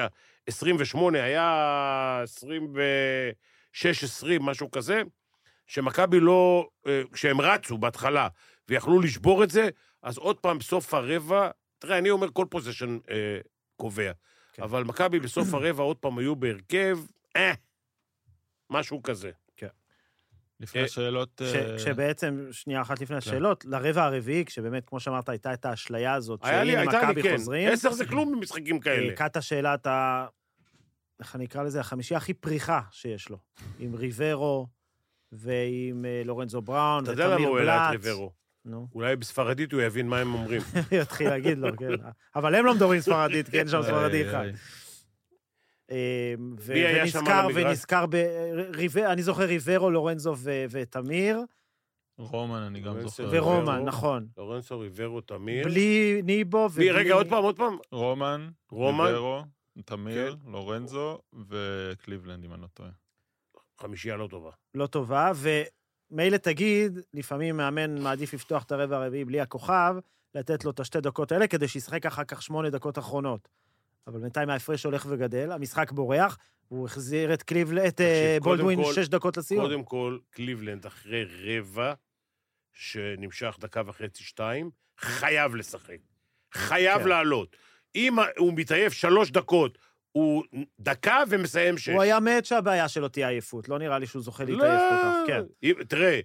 Speaker 2: 28, היה 26, 20, משהו כזה, שמכבי לא... אה, כשהם רצו בהתחלה ויכלו לשבור את זה, אז עוד פעם, בסוף הרבע, תראה, אני אומר כל פוזיישן אה, קובע,
Speaker 4: כן.
Speaker 2: כן. אבל מכבי בסוף הרבע עוד פעם היו בהרכב, אה, משהו כזה.
Speaker 3: לפני
Speaker 2: אה,
Speaker 3: השאלות...
Speaker 4: כש-
Speaker 3: אה,
Speaker 4: כשבעצם, שנייה אחת לפני
Speaker 2: כן.
Speaker 4: השאלות, לרבע הרביעי, כשבאמת, כמו שאמרת, הייתה את האשליה הזאת,
Speaker 2: היה לי,
Speaker 4: שהנה
Speaker 2: הייתה לי,
Speaker 4: מכבי
Speaker 2: כן.
Speaker 4: חוזרים, אה,
Speaker 2: עשר זה כלום במשחקים כאלה.
Speaker 4: קאטה שאלת ה... איך אני אקרא לזה? החמישייה הכי פריחה שיש לו. עם ריברו ועם אה, לורנזו בראון
Speaker 2: אתה יודע למה
Speaker 4: ותמיר
Speaker 2: הוא העלה את
Speaker 4: בלאט.
Speaker 2: ריברו?
Speaker 4: נו,
Speaker 2: אולי בספרדית הוא יבין מה הם אומרים.
Speaker 4: יתחיל להגיד לו, כן. אבל הם לא מדברים ספרדית, כן, שם
Speaker 3: אה,
Speaker 4: ספרדי אחד. אמ, ו-
Speaker 2: מי היה שם
Speaker 4: ונזכר,
Speaker 2: על המגרש?
Speaker 4: ונזכר ב... ריבר, אני זוכר ריברו, לורנזו ו- ותמיר,
Speaker 3: רומן, אני גם
Speaker 2: רומן
Speaker 3: זוכר.
Speaker 2: סילברו.
Speaker 3: רומן.
Speaker 4: ורומן, נכון.
Speaker 2: לורנסו ריברו תמיר.
Speaker 4: בלי ניבו ובלי...
Speaker 2: מי- רגע, עוד פעם, עוד פעם.
Speaker 3: רומן,
Speaker 2: רומן? כן.
Speaker 3: ריברו, תמיר, לורנזו וקליבלנד, אם אני לא טועה.
Speaker 2: חמישייה לא טובה.
Speaker 4: לא טובה, ומילא תגיד, לפעמים מאמן מעדיף לפתוח את הרבע הרביעי בלי הכוכב, לתת לו את השתי דקות האלה כדי שישחק אחר כך שמונה דקות אחרונות. אבל בינתיים ההפרש הולך וגדל, המשחק בורח, הוא החזיר את קליבל... את אה,
Speaker 2: קודם
Speaker 4: בולדווין
Speaker 2: כל-
Speaker 4: שש דקות לסיום.
Speaker 2: קודם כל, קליבלנד אחרי רבע, שנמשך דקה וחצי, שתיים, חייב לשחק. חייב
Speaker 4: כן.
Speaker 2: לעלות. אם ה- הוא מתעייף שלוש דקות, הוא דקה ומסיים שש.
Speaker 4: הוא היה מת שהבעיה שלו תהיה עייפות, לא נראה לי שהוא זוכה
Speaker 2: לא.
Speaker 4: להתעייף כל כך, כן.
Speaker 2: אם- תראה,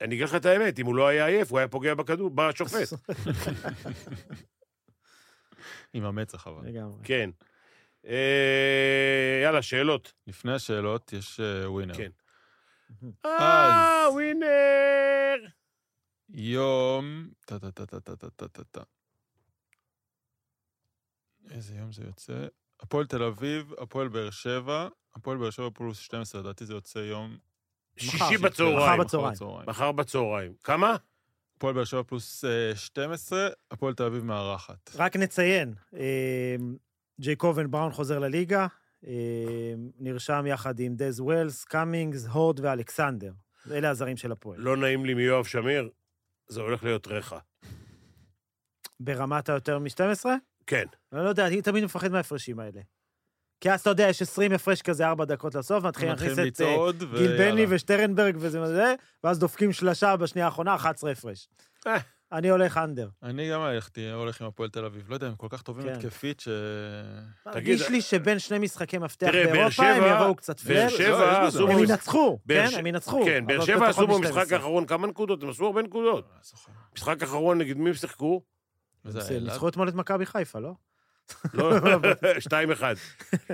Speaker 2: אני אגיד לך את האמת, אם הוא לא היה עייף, הוא היה פוגע בכדור, בשופט.
Speaker 3: עם המצח אבל.
Speaker 4: לגמרי.
Speaker 2: כן. אה, יאללה, שאלות.
Speaker 3: לפני השאלות יש אה, ווינר.
Speaker 2: כן. אה,
Speaker 3: אז-
Speaker 2: ווינר!
Speaker 3: יום... טה-טה-טה-טה-טה-טה-טה. איזה יום זה יוצא? הפועל תל אביב, הפועל באר שבע, הפועל באר שבע פלוס 12, לדעתי זה יוצא יום...
Speaker 2: שישי
Speaker 4: מחר
Speaker 2: בצהריים.
Speaker 4: בצהריים.
Speaker 2: מחר בצהריים. כמה?
Speaker 3: הפועל באר שבע פלוס אה, 12, הפועל תל אביב מארחת.
Speaker 4: רק נציין, אה, ג'ייקובן בראון חוזר לליגה, אה, נרשם יחד עם דז ווילס, קאמינגס, הורד ואלכסנדר. אלה הזרים של הפועל.
Speaker 2: לא נעים לי מיואב שמיר, זה הולך להיות רחה.
Speaker 4: ברמת היותר מ-12?
Speaker 2: כן.
Speaker 4: אני לא יודע, אני תמיד מפחד מההפרשים האלה. כי אז אתה יודע, יש 20 הפרש כזה, 4 דקות לסוף, מתחילים להכניס את אה,
Speaker 3: לצעוד,
Speaker 4: גיל בני
Speaker 3: ויאללה.
Speaker 4: ושטרנברג וזה וזה, ואז דופקים שלשה בשנייה האחרונה, 11 הפרש.
Speaker 2: אה.
Speaker 4: אני הולך אנדר.
Speaker 3: אני גם הלכתי, הולך עם הפועל תל אביב. לא יודע, הם כל כך טובים
Speaker 4: כן.
Speaker 3: התקפית ש...
Speaker 4: מרגיש לי שבין שני משחקי מפתח
Speaker 2: אה, תראה, באר
Speaker 4: באירופה הם
Speaker 2: שבע-
Speaker 4: יבואו קצת
Speaker 2: באר
Speaker 4: פלר.
Speaker 2: שבע
Speaker 3: יש בזה.
Speaker 2: עשו
Speaker 4: הם
Speaker 2: במשחק-
Speaker 4: ינצחו,
Speaker 2: באר
Speaker 4: כן?
Speaker 2: ש-
Speaker 4: הם ינצחו.
Speaker 2: כן, באר
Speaker 4: אבל
Speaker 2: שבע
Speaker 4: פחות
Speaker 2: עשו
Speaker 4: מ- 12.
Speaker 2: במשחק האחרון כמה נקודות? הם עשו הרבה נקודות.
Speaker 3: לא זוכר.
Speaker 2: משחק האחרון, נגד מי הם שיחקו?
Speaker 3: וזה
Speaker 4: הם
Speaker 3: אילת.
Speaker 4: ניצחו אתמול את מכבי חיפה, לא?
Speaker 2: לא, 2-1.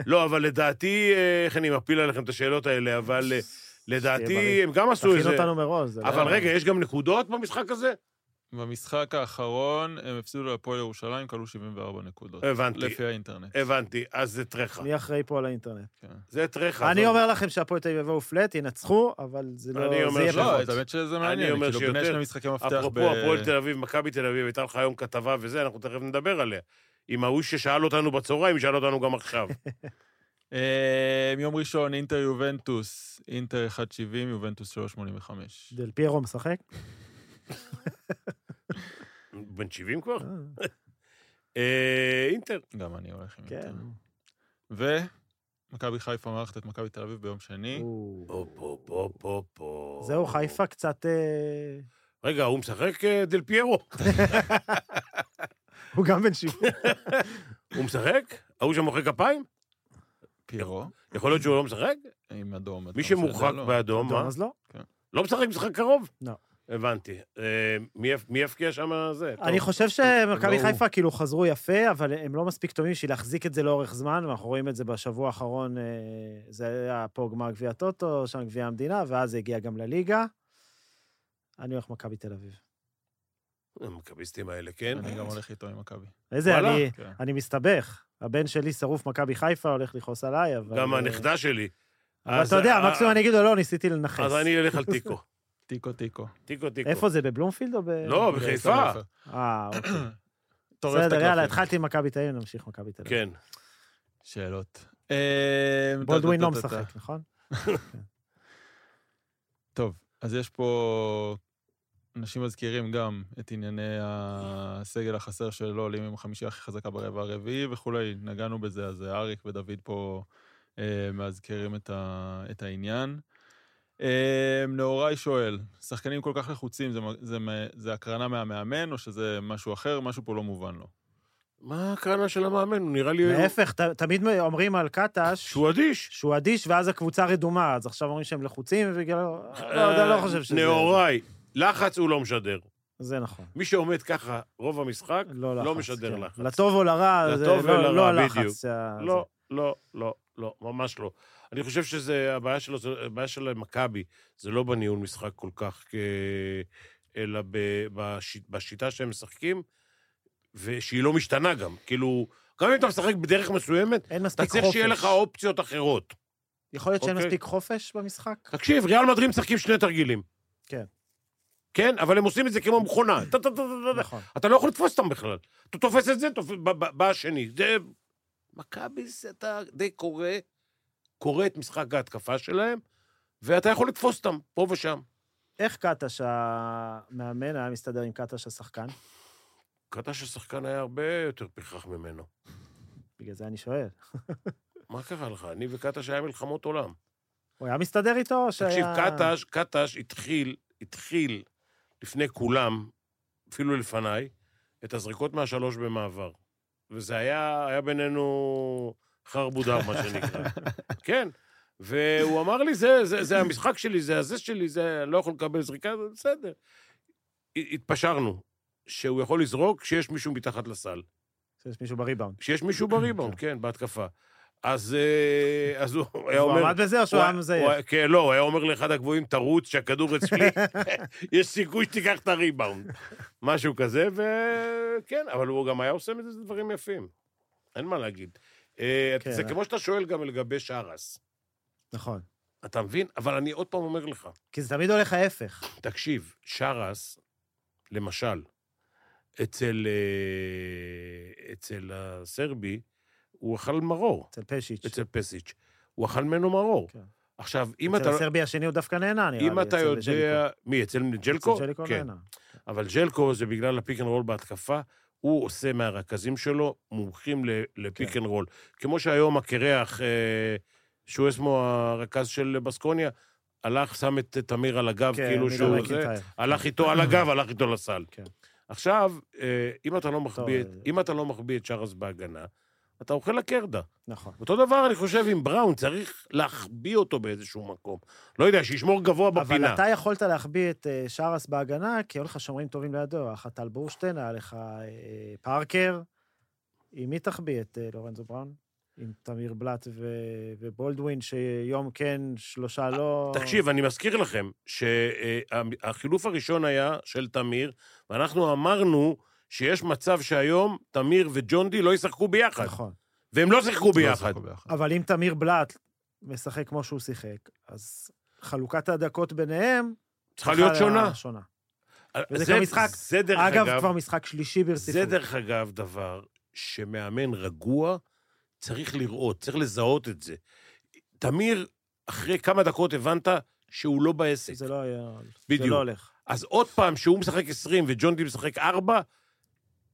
Speaker 2: לא, אבל לדעתי, אה, איך אני מפיל עליכם את השאלות האלה, אבל אה, לדעתי
Speaker 4: בריא.
Speaker 2: הם גם עשו את
Speaker 4: תכין
Speaker 2: זה.
Speaker 4: אותנו מראש. זה לא-
Speaker 2: אבל רגע, יש גם נקודות במשחק הזה?
Speaker 3: במשחק האחרון הם הפסידו להפועל ירושלים, כלו 74 נקודות.
Speaker 2: הבנתי,
Speaker 3: לפי האינטרנט.
Speaker 2: הבנתי. אז זה טרחה.
Speaker 4: מי אחראי פה על האינטרנט?
Speaker 3: כן.
Speaker 2: זה טרחה.
Speaker 4: אני
Speaker 2: זאת-
Speaker 4: אומר לכם שהפועל תל אביב יבואו פלט, ינצחו, אבל זה לא...
Speaker 2: אני אומר
Speaker 4: זה יהיה
Speaker 2: שלא,
Speaker 3: לא,
Speaker 4: פחות.
Speaker 3: את האמת שזה מעניין,
Speaker 2: אומר
Speaker 3: כאילו בני
Speaker 2: שיותר.
Speaker 3: שני משחקי מפתח ב...
Speaker 2: אפרופו הפועל תל אביב, מכבי תל אביב, הייתה לך היום כתבה וזה, אנחנו תכף נדבר עליה. עם ההוא ששאל אותנו בצהריים, ישאל אותנו גם עכשיו.
Speaker 3: אה, יום ראשון, אינטר יובנטוס, אינטר 1.70, יובנטוס 3.85.
Speaker 4: דל פיירו משחק?
Speaker 2: בן 70 כבר?
Speaker 4: אה,
Speaker 2: אה, אינטר.
Speaker 3: גם אני הולך עם
Speaker 4: כן.
Speaker 3: אינטר. ומכבי חיפה מארחת את מכבי תל אביב ביום
Speaker 2: אה?
Speaker 3: שני.
Speaker 4: הוא-
Speaker 2: פה, פה, פה, פה, פה.
Speaker 4: זהו, חיפה קצת... אה,
Speaker 2: רגע, הוא משחק אה, דל פיירו?
Speaker 4: הוא גם בן שבעים.
Speaker 2: הוא משחק? ההוא שמוחא כפיים?
Speaker 3: פירו,
Speaker 2: יכול להיות שהוא לא משחק?
Speaker 3: עם אדום. אתה
Speaker 2: מי
Speaker 3: לא
Speaker 2: שמורחק
Speaker 3: משדר לו.
Speaker 2: באדום, מה?
Speaker 4: אז לא.
Speaker 2: לא משחק משחק קרוב?
Speaker 4: לא.
Speaker 2: הבנתי. אה, מי יפ- מי יפקיע שם זה?
Speaker 4: אני
Speaker 2: טוב.
Speaker 4: חושב שמכבי
Speaker 3: לא
Speaker 4: חיפה כאילו חזרו יפה, אבל הם לא מספיק טובים בשביל להחזיק את זה לאורך זמן, ואנחנו רואים את זה בשבוע האחרון, אה, זה היה פה גמר גביע הטוטו, שם גביע המדינה, ואז זה הגיע גם לליגה. אני הולך מכבי תל אביב.
Speaker 2: המכביסטים האלה, כן?
Speaker 3: אני גם הולך איתו עם מכבי.
Speaker 4: איזה,
Speaker 2: וואלה.
Speaker 4: אני,
Speaker 3: כן.
Speaker 4: אני מסתבך. הבן שלי שרוף מכבי חיפה, הולך לכעוס עליי, אבל...
Speaker 2: גם
Speaker 4: אה,
Speaker 2: הנכדה שלי.
Speaker 4: אבל
Speaker 2: אז-
Speaker 4: אתה יודע,
Speaker 2: אה,
Speaker 4: מקסימום אני אגיד לו, לא, ניסיתי לנכס.
Speaker 2: אז אני אלך על תיקו.
Speaker 3: טיקו טיקו.
Speaker 2: תיקו, תיקו.
Speaker 4: איפה זה, בבלומפילד או ב...
Speaker 2: לא, בחיפה.
Speaker 4: אה, אוקיי.
Speaker 3: טורף את
Speaker 4: בסדר, יאללה,
Speaker 3: הקלפים.
Speaker 4: התחלתי עם מכבי תל אביב, נמשיך מכבי תל אביב.
Speaker 2: כן.
Speaker 3: שאלות. אה,
Speaker 4: בולדווין לא
Speaker 3: טה-טה-טה-טה.
Speaker 4: משחק, נכון?
Speaker 3: טוב, אז יש פה... אנשים מזכירים גם את ענייני הסגל החסר שלא עולים עם החמישייה הכי חזקה ברבע הרביעי וכולי, נגענו בזה, אז אריק ודוד פה אה, מאזכרים את, ה, את העניין. אה, נאורי שואל, שחקנים כל כך לחוצים, זה, מ- זה, מ- זה הקרנה מהמאמן או שזה משהו אחר? משהו פה לא מובן לו.
Speaker 2: מה הקרנה של המאמן? הוא נראה לי...
Speaker 4: להפך, ת- תמיד אומרים על קטש
Speaker 2: שהוא אדיש.
Speaker 4: שהוא אדיש, ואז הקבוצה רדומה, אז עכשיו אומרים שהם לחוצים, ובגלל...
Speaker 2: אה,
Speaker 4: לא, לא חושב שזה...
Speaker 2: נאוריי, לחץ הוא לא משדר.
Speaker 4: זה נכון.
Speaker 2: מי שעומד ככה רוב המשחק,
Speaker 4: לא לחץ.
Speaker 2: לא משדר
Speaker 4: כן.
Speaker 2: לחץ.
Speaker 4: לטוב או לרע, זה
Speaker 2: לטוב
Speaker 4: לא- לא
Speaker 2: ולרע, בדיוק.
Speaker 4: הלחץ. שה-
Speaker 2: לא, לא, לא, לא, ממש לא. אני חושב שזה, הבעיה שלו, זה- הבעיה של מכבי, זה לא בניהול משחק כל כך, אה, אלא ב- בש- בשיטה שהם משחקים, ושהיא לא משתנה גם. כאילו, גם אם אתה משחק בדרך מסוימת,
Speaker 4: אין
Speaker 2: אתה
Speaker 4: מספיק חופש.
Speaker 2: צריך שיהיה לך אופציות אחרות.
Speaker 4: יכול להיות שאין
Speaker 2: אוקיי.
Speaker 4: מספיק חופש במשחק?
Speaker 2: תקשיב, ריאל מדרים משחקים שני תרגילים.
Speaker 4: כן.
Speaker 2: כן, אבל הם עושים את זה כמו מכונה. טה, טה, טה, טה, טה.
Speaker 4: נכון.
Speaker 2: אתה לא יכול לתפוס אותם בכלל. אתה תופס את זה, תופ... ב- ב- בא השני. זה... מכבי, זה אתה די קורא, קורא את משחק ההתקפה שלהם, ואתה יכול לתפוס אותם, פה ושם.
Speaker 4: איך קטש המאמן היה מסתדר עם קטש השחקן?
Speaker 2: קטש השחקן היה הרבה יותר פרחח ממנו.
Speaker 4: בגלל זה אני שואל.
Speaker 2: מה קרה לך? אני וקטש היה מלחמות עולם.
Speaker 4: הוא היה מסתדר איתו או שהיה...
Speaker 2: תקשיב, קטש, קטש התחיל, התחיל לפני כולם, אפילו לפניי, את הזריקות מהשלוש במעבר. וזה היה, היה בינינו חרבודר, מה שנקרא. כן. והוא אמר לי, זה, זה, זה המשחק שלי, זה הזה שלי, זה, לא יכול לקבל זריקה, זה בסדר. הת- התפשרנו, שהוא יכול לזרוק כשיש מישהו מתחת לסל.
Speaker 4: שיש מישהו בריבאונד.
Speaker 2: כשיש מישהו בריבאונד, כן, בהתקפה. אז, אה, אז הוא היה
Speaker 4: הוא
Speaker 2: אומר...
Speaker 4: עמד בזה או שהוא היה מזייף?
Speaker 2: הוא היה- כן, לא, הוא היה אומר לאחד הגבוהים, תרוץ, שהכדור אצלי, יש סיכוי שתיקח את הריבאונד. משהו כזה, וכן, אבל הוא גם היה עושה מזה דברים יפים. אין מה להגיד. אה,
Speaker 4: כן,
Speaker 2: זה
Speaker 4: אה.
Speaker 2: כמו שאתה שואל גם לגבי שרס.
Speaker 4: נכון.
Speaker 2: אתה מבין? אבל אני עוד פעם אומר לך,
Speaker 4: כי זה תמיד הולך ההפך.
Speaker 2: תקשיב, שרס, למשל, אצל, אה, אצל הסרבי, הוא אכל מרור.
Speaker 4: אצל פשיץ'.
Speaker 2: אצל פסיץ'. הוא אכל ממנו מרור.
Speaker 4: כן.
Speaker 2: עכשיו, אם
Speaker 4: אצל
Speaker 2: אתה... לא-
Speaker 4: הסרבי השני הוא דווקא נהנה, נראה לי.
Speaker 2: אם אתה
Speaker 4: אצל ג'ליקו.
Speaker 2: יודע... מי, אצל ג'לקו?
Speaker 4: אצל ג'ליקו לא,
Speaker 2: כן.
Speaker 4: נהנה.
Speaker 2: אבל ג'לקו זה בגלל הפיק אנד רול בהתקפה, הוא עושה מהרכזים שלו מומחים ל- לפיק
Speaker 4: כן.
Speaker 2: אנד רול. כמו שהיום הקרח, אה, שהוא עצמו הרכז של בסקוניה, הלך, שם את תמיר על הגב,
Speaker 4: כן,
Speaker 2: כאילו
Speaker 4: מידל
Speaker 2: שהוא... זה,
Speaker 4: מקינטייר.
Speaker 2: הלך איתו על הגב, הלך איתו לסל.
Speaker 4: כן.
Speaker 2: עכשיו, אה, אם אתה לא מחביא את-
Speaker 4: אה,
Speaker 2: אם אתה לא מחביא את שרס בהגנה, אתה אוכל לקרדה.
Speaker 4: נכון.
Speaker 2: אותו דבר, אני חושב, עם בראון, צריך להחביא אותו באיזשהו מקום. לא יודע, שישמור גבוה
Speaker 4: אבל
Speaker 2: בפינה.
Speaker 4: אתה יכולת להחביא את אה, שרס בהגנה, כי היו לך שומרים טובים לידו. היה לך טל בורשטיין, היה לך אה, פארקר. עם מי תחביא את אה, לורנזו בראון? עם תמיר בלאט ו- ובולדווין, שיום כן, שלושה לא...
Speaker 2: תקשיב, אני מזכיר לכם שהחילוף הראשון היה של תמיר, ואנחנו אמרנו שיש מצב שהיום תמיר וג'ונדי לא ישחקו ביחד.
Speaker 4: נכון.
Speaker 2: והם לא שיחקו
Speaker 3: לא
Speaker 2: ביחד.
Speaker 3: שיחקו ביחד.
Speaker 4: אבל אם תמיר בלאט משחק כמו שהוא שיחק, אז חלוקת הדקות ביניהם...
Speaker 2: צריכה להיות שונה.
Speaker 4: שונה. וזה
Speaker 2: זה
Speaker 4: כבר משחק.
Speaker 2: זה דרך
Speaker 4: אגב,
Speaker 2: אגב,
Speaker 4: כבר משחק שלישי ברציפות.
Speaker 2: זה דרך אגב דבר שמאמן רגוע צריך לראות, צריך לזהות את זה. תמיר, אחרי כמה דקות הבנת שהוא לא בעסק.
Speaker 4: זה לא היה... זה
Speaker 2: בדיוק.
Speaker 4: לא הולך.
Speaker 2: אז עוד פעם, שהוא משחק 20 וג'ון די משחק 4,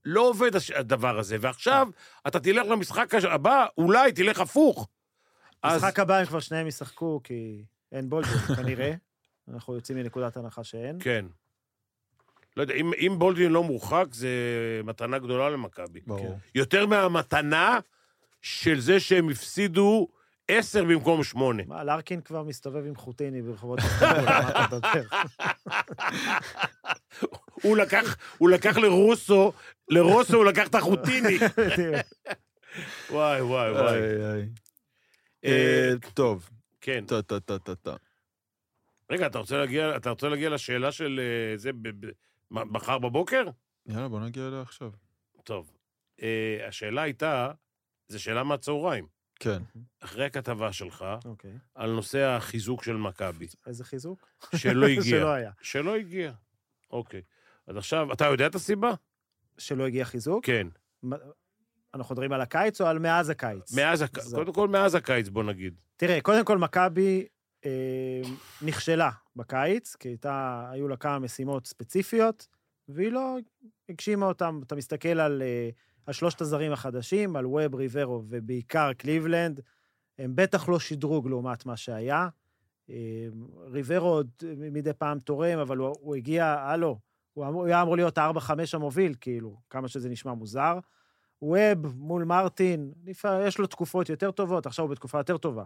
Speaker 2: לא עובד הש- הדבר הזה. ועכשיו, אתה תלך למשחק הש- הבא, אולי תלך הפוך. אז
Speaker 4: משחק הבא הם כבר שניהם ישחקו, כי אין בולדווין, כנראה. אנחנו יוצאים מנקודת הנחה שאין.
Speaker 2: כן. לא יודע, אם, אם בולדווין לא מורחק, זה מתנה גדולה למכבי.
Speaker 3: ברור.
Speaker 2: יותר מהמתנה של זה שהם הפסידו 10 במקום 8.
Speaker 4: מה, לארקין כבר מסתובב עם חוטיני ברחובות הסטרול, מה אתה מדבר?
Speaker 2: הוא לקח, הוא לקח לרוסו, לרוסו הוא לקח את החוטיני. וואי, וואי, וואי.
Speaker 3: איי, איי.
Speaker 2: אה,
Speaker 3: אה, טוב,
Speaker 2: כן.
Speaker 3: טה טה טה טה טה.
Speaker 2: רגע, אתה רוצה להגיע, אתה רוצה להגיע לשאלה של אה, זה ב- ב- מ- מחר בבוקר?
Speaker 3: יאללה, בוא נגיע אליה עכשיו.
Speaker 2: טוב. אה, השאלה הייתה, זו שאלה מהצהריים,
Speaker 3: כן.
Speaker 2: אחרי הכתבה שלך,
Speaker 4: אוקיי.
Speaker 2: על נושא החיזוק של מכבי,
Speaker 4: איזה חיזוק?
Speaker 2: שלא הגיע.
Speaker 4: שלא היה.
Speaker 2: שלא הגיע. אוקיי. אז עכשיו, אתה יודע את הסיבה?
Speaker 4: שלא הגיע חיזוק?
Speaker 2: כן.
Speaker 4: מה- אנחנו מדברים על הקיץ או על מאז הקיץ?
Speaker 2: מאז, הק-
Speaker 4: זהו.
Speaker 2: קודם כל, מאז הקיץ, בוא נגיד.
Speaker 4: תראה, קודם כל, מכבי אה, נכשלה בקיץ, כי הייתה, היו לה כמה משימות ספציפיות, והיא לא הגשימה אותן. אתה מסתכל על אה, השלושת הזרים החדשים, על ווב, ריברו ובעיקר קליבלנד, הם בטח לא שדרוג לעומת מה שהיה. אה, ריברו עוד מדי פעם תורם, אבל הוא, הוא הגיע, הלו, הוא, אמור, הוא היה אמור להיות ה-4-5 המוביל, כאילו, כמה שזה נשמע מוזר. ווב מול מרטין, לפע- יש לו תקופות יותר טובות, עכשיו הוא בתקופה יותר טובה.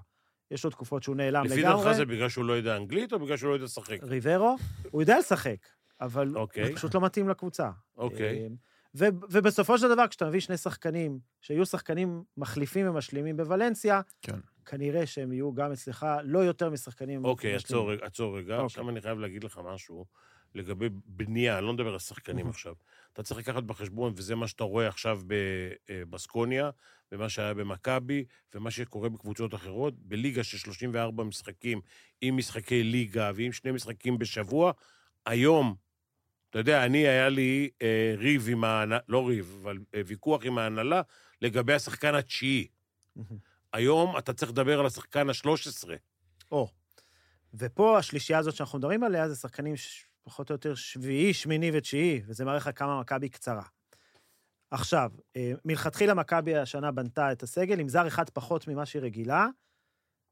Speaker 4: יש לו תקופות שהוא נעלם
Speaker 2: לפי דעתך זה
Speaker 4: לגמרי. אה,
Speaker 2: בגלל שהוא לא יודע אנגלית או בגלל שהוא לא יודע לשחק?
Speaker 4: ריברו, הוא יודע לשחק, אבל
Speaker 2: אוקיי.
Speaker 4: הוא פשוט לא מתאים לקבוצה.
Speaker 2: אוקיי.
Speaker 4: אמ, ו- ובסופו של דבר, כשאתה מביא שני שחקנים, שיהיו שחקנים מחליפים ומשלימים בוולנסיה,
Speaker 3: כן.
Speaker 4: כנראה שהם יהיו גם אצלך לא יותר משחקנים
Speaker 2: אוקיי,
Speaker 4: משלימים.
Speaker 2: עצור רגע, עצור רגע.
Speaker 4: אוקיי.
Speaker 2: עכשיו אני חייב להגיד לך משהו. לגבי בנייה, אני לא מדבר על שחקנים
Speaker 4: Mhm.
Speaker 2: עכשיו. אתה צריך לקחת בחשבון, וזה מה שאתה רואה עכשיו בבסקוניה, ומה שהיה במכבי, ומה שקורה בקבוצות אחרות, בליגה של 34 משחקים, עם משחקי ליגה ועם שני משחקים בשבוע, היום, אתה יודע, אני, היה לי אה, ריב עם ההנהלה, לא ריב, אבל אה, ויכוח עם ההנהלה לגבי השחקן התשיעי. היום אתה צריך לדבר על השחקן ה-13.
Speaker 4: או. ופה השלישייה הזאת שאנחנו מדברים עליה זה שחקנים ש- פחות או יותר שביעי, שמיני ותשיעי, וזה מראה לך כמה מכבי קצרה. עכשיו, אה, מלכתחילה מכבי השנה בנתה את הסגל עם זר אחד פחות ממה שהיא רגילה,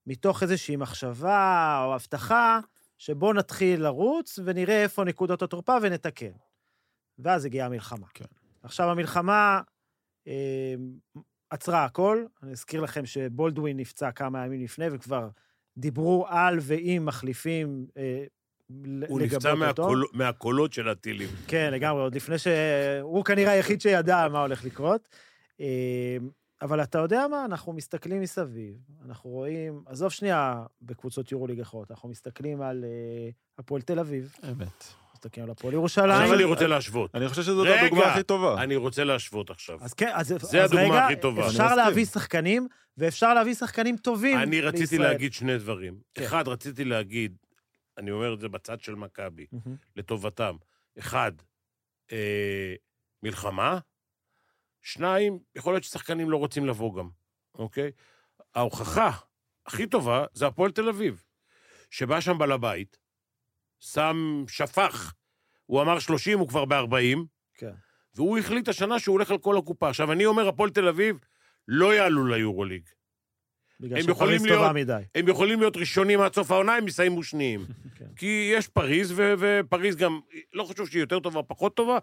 Speaker 4: מתוך איזושהי מחשבה או הבטחה שבוא נתחיל לרוץ ונראה איפה נקודות התורפה ונתקן. ואז הגיעה המלחמה.
Speaker 3: כן.
Speaker 4: עכשיו, המלחמה אה, עצרה הכל. אני אזכיר לכם שבולדווין נפצע כמה ימים לפני וכבר דיברו על ועם מחליפים אה, ל-
Speaker 2: הוא
Speaker 4: לגבות
Speaker 2: נפצע
Speaker 4: אותו.
Speaker 2: מהקול, מהקולות של הטילים.
Speaker 4: כן, לגמרי, עוד לפני ש... הוא כנראה היחיד שידע מה הולך לקרות. אה, אבל אתה יודע מה, אנחנו מסתכלים מסביב, אנחנו רואים, עזוב שנייה בקבוצות יורו-ליג אחרות, אנחנו מסתכלים על אה, הפועל תל אביב,
Speaker 3: אמת.
Speaker 4: מסתכלים על הפועל
Speaker 2: עכשיו אני
Speaker 4: ירושלים.
Speaker 2: רוצה להשוות.
Speaker 3: אני חושב שזאת
Speaker 2: רגע,
Speaker 3: הדוגמה הכי טובה.
Speaker 2: אני רוצה להשוות עכשיו.
Speaker 4: אה. אז כן, אז,
Speaker 2: זה
Speaker 4: אז
Speaker 2: הדוגמה
Speaker 4: רגע,
Speaker 2: הכי טובה.
Speaker 3: אני
Speaker 4: אפשר
Speaker 3: מסכים.
Speaker 4: להביא שחקנים, ואפשר להביא שחקנים טובים
Speaker 2: אני רציתי
Speaker 4: לישראל.
Speaker 2: להגיד שני דברים.
Speaker 4: כן.
Speaker 2: אחד, רציתי להגיד, אני אומר את זה בצד של מכבי,
Speaker 4: מהמם.
Speaker 2: לטובתם. אחד, אה, מלחמה. שניים, יכול להיות ששחקנים לא רוצים לבוא גם, אוקיי? ההוכחה הכי טובה זה הפועל תל אביב, שבא שם בעל הבית, שם שפך, הוא אמר 30, הוא כבר ב-40,
Speaker 4: כן.
Speaker 2: והוא החליט השנה שהוא הולך על כל הקופה. עכשיו, אני אומר, הפועל תל אביב לא יעלו ליורוליג.
Speaker 4: בגלל
Speaker 2: הם
Speaker 4: שפריז
Speaker 2: יכולים
Speaker 4: טובה
Speaker 2: להיות-
Speaker 4: מדי.
Speaker 2: הם יכולים להיות ראשונים עד סוף העונה, הם יסיימו שניים.
Speaker 4: כן.
Speaker 2: כי יש פריז, ו- ופריז גם, לא חשוב שהיא יותר טובה, פחות טובה.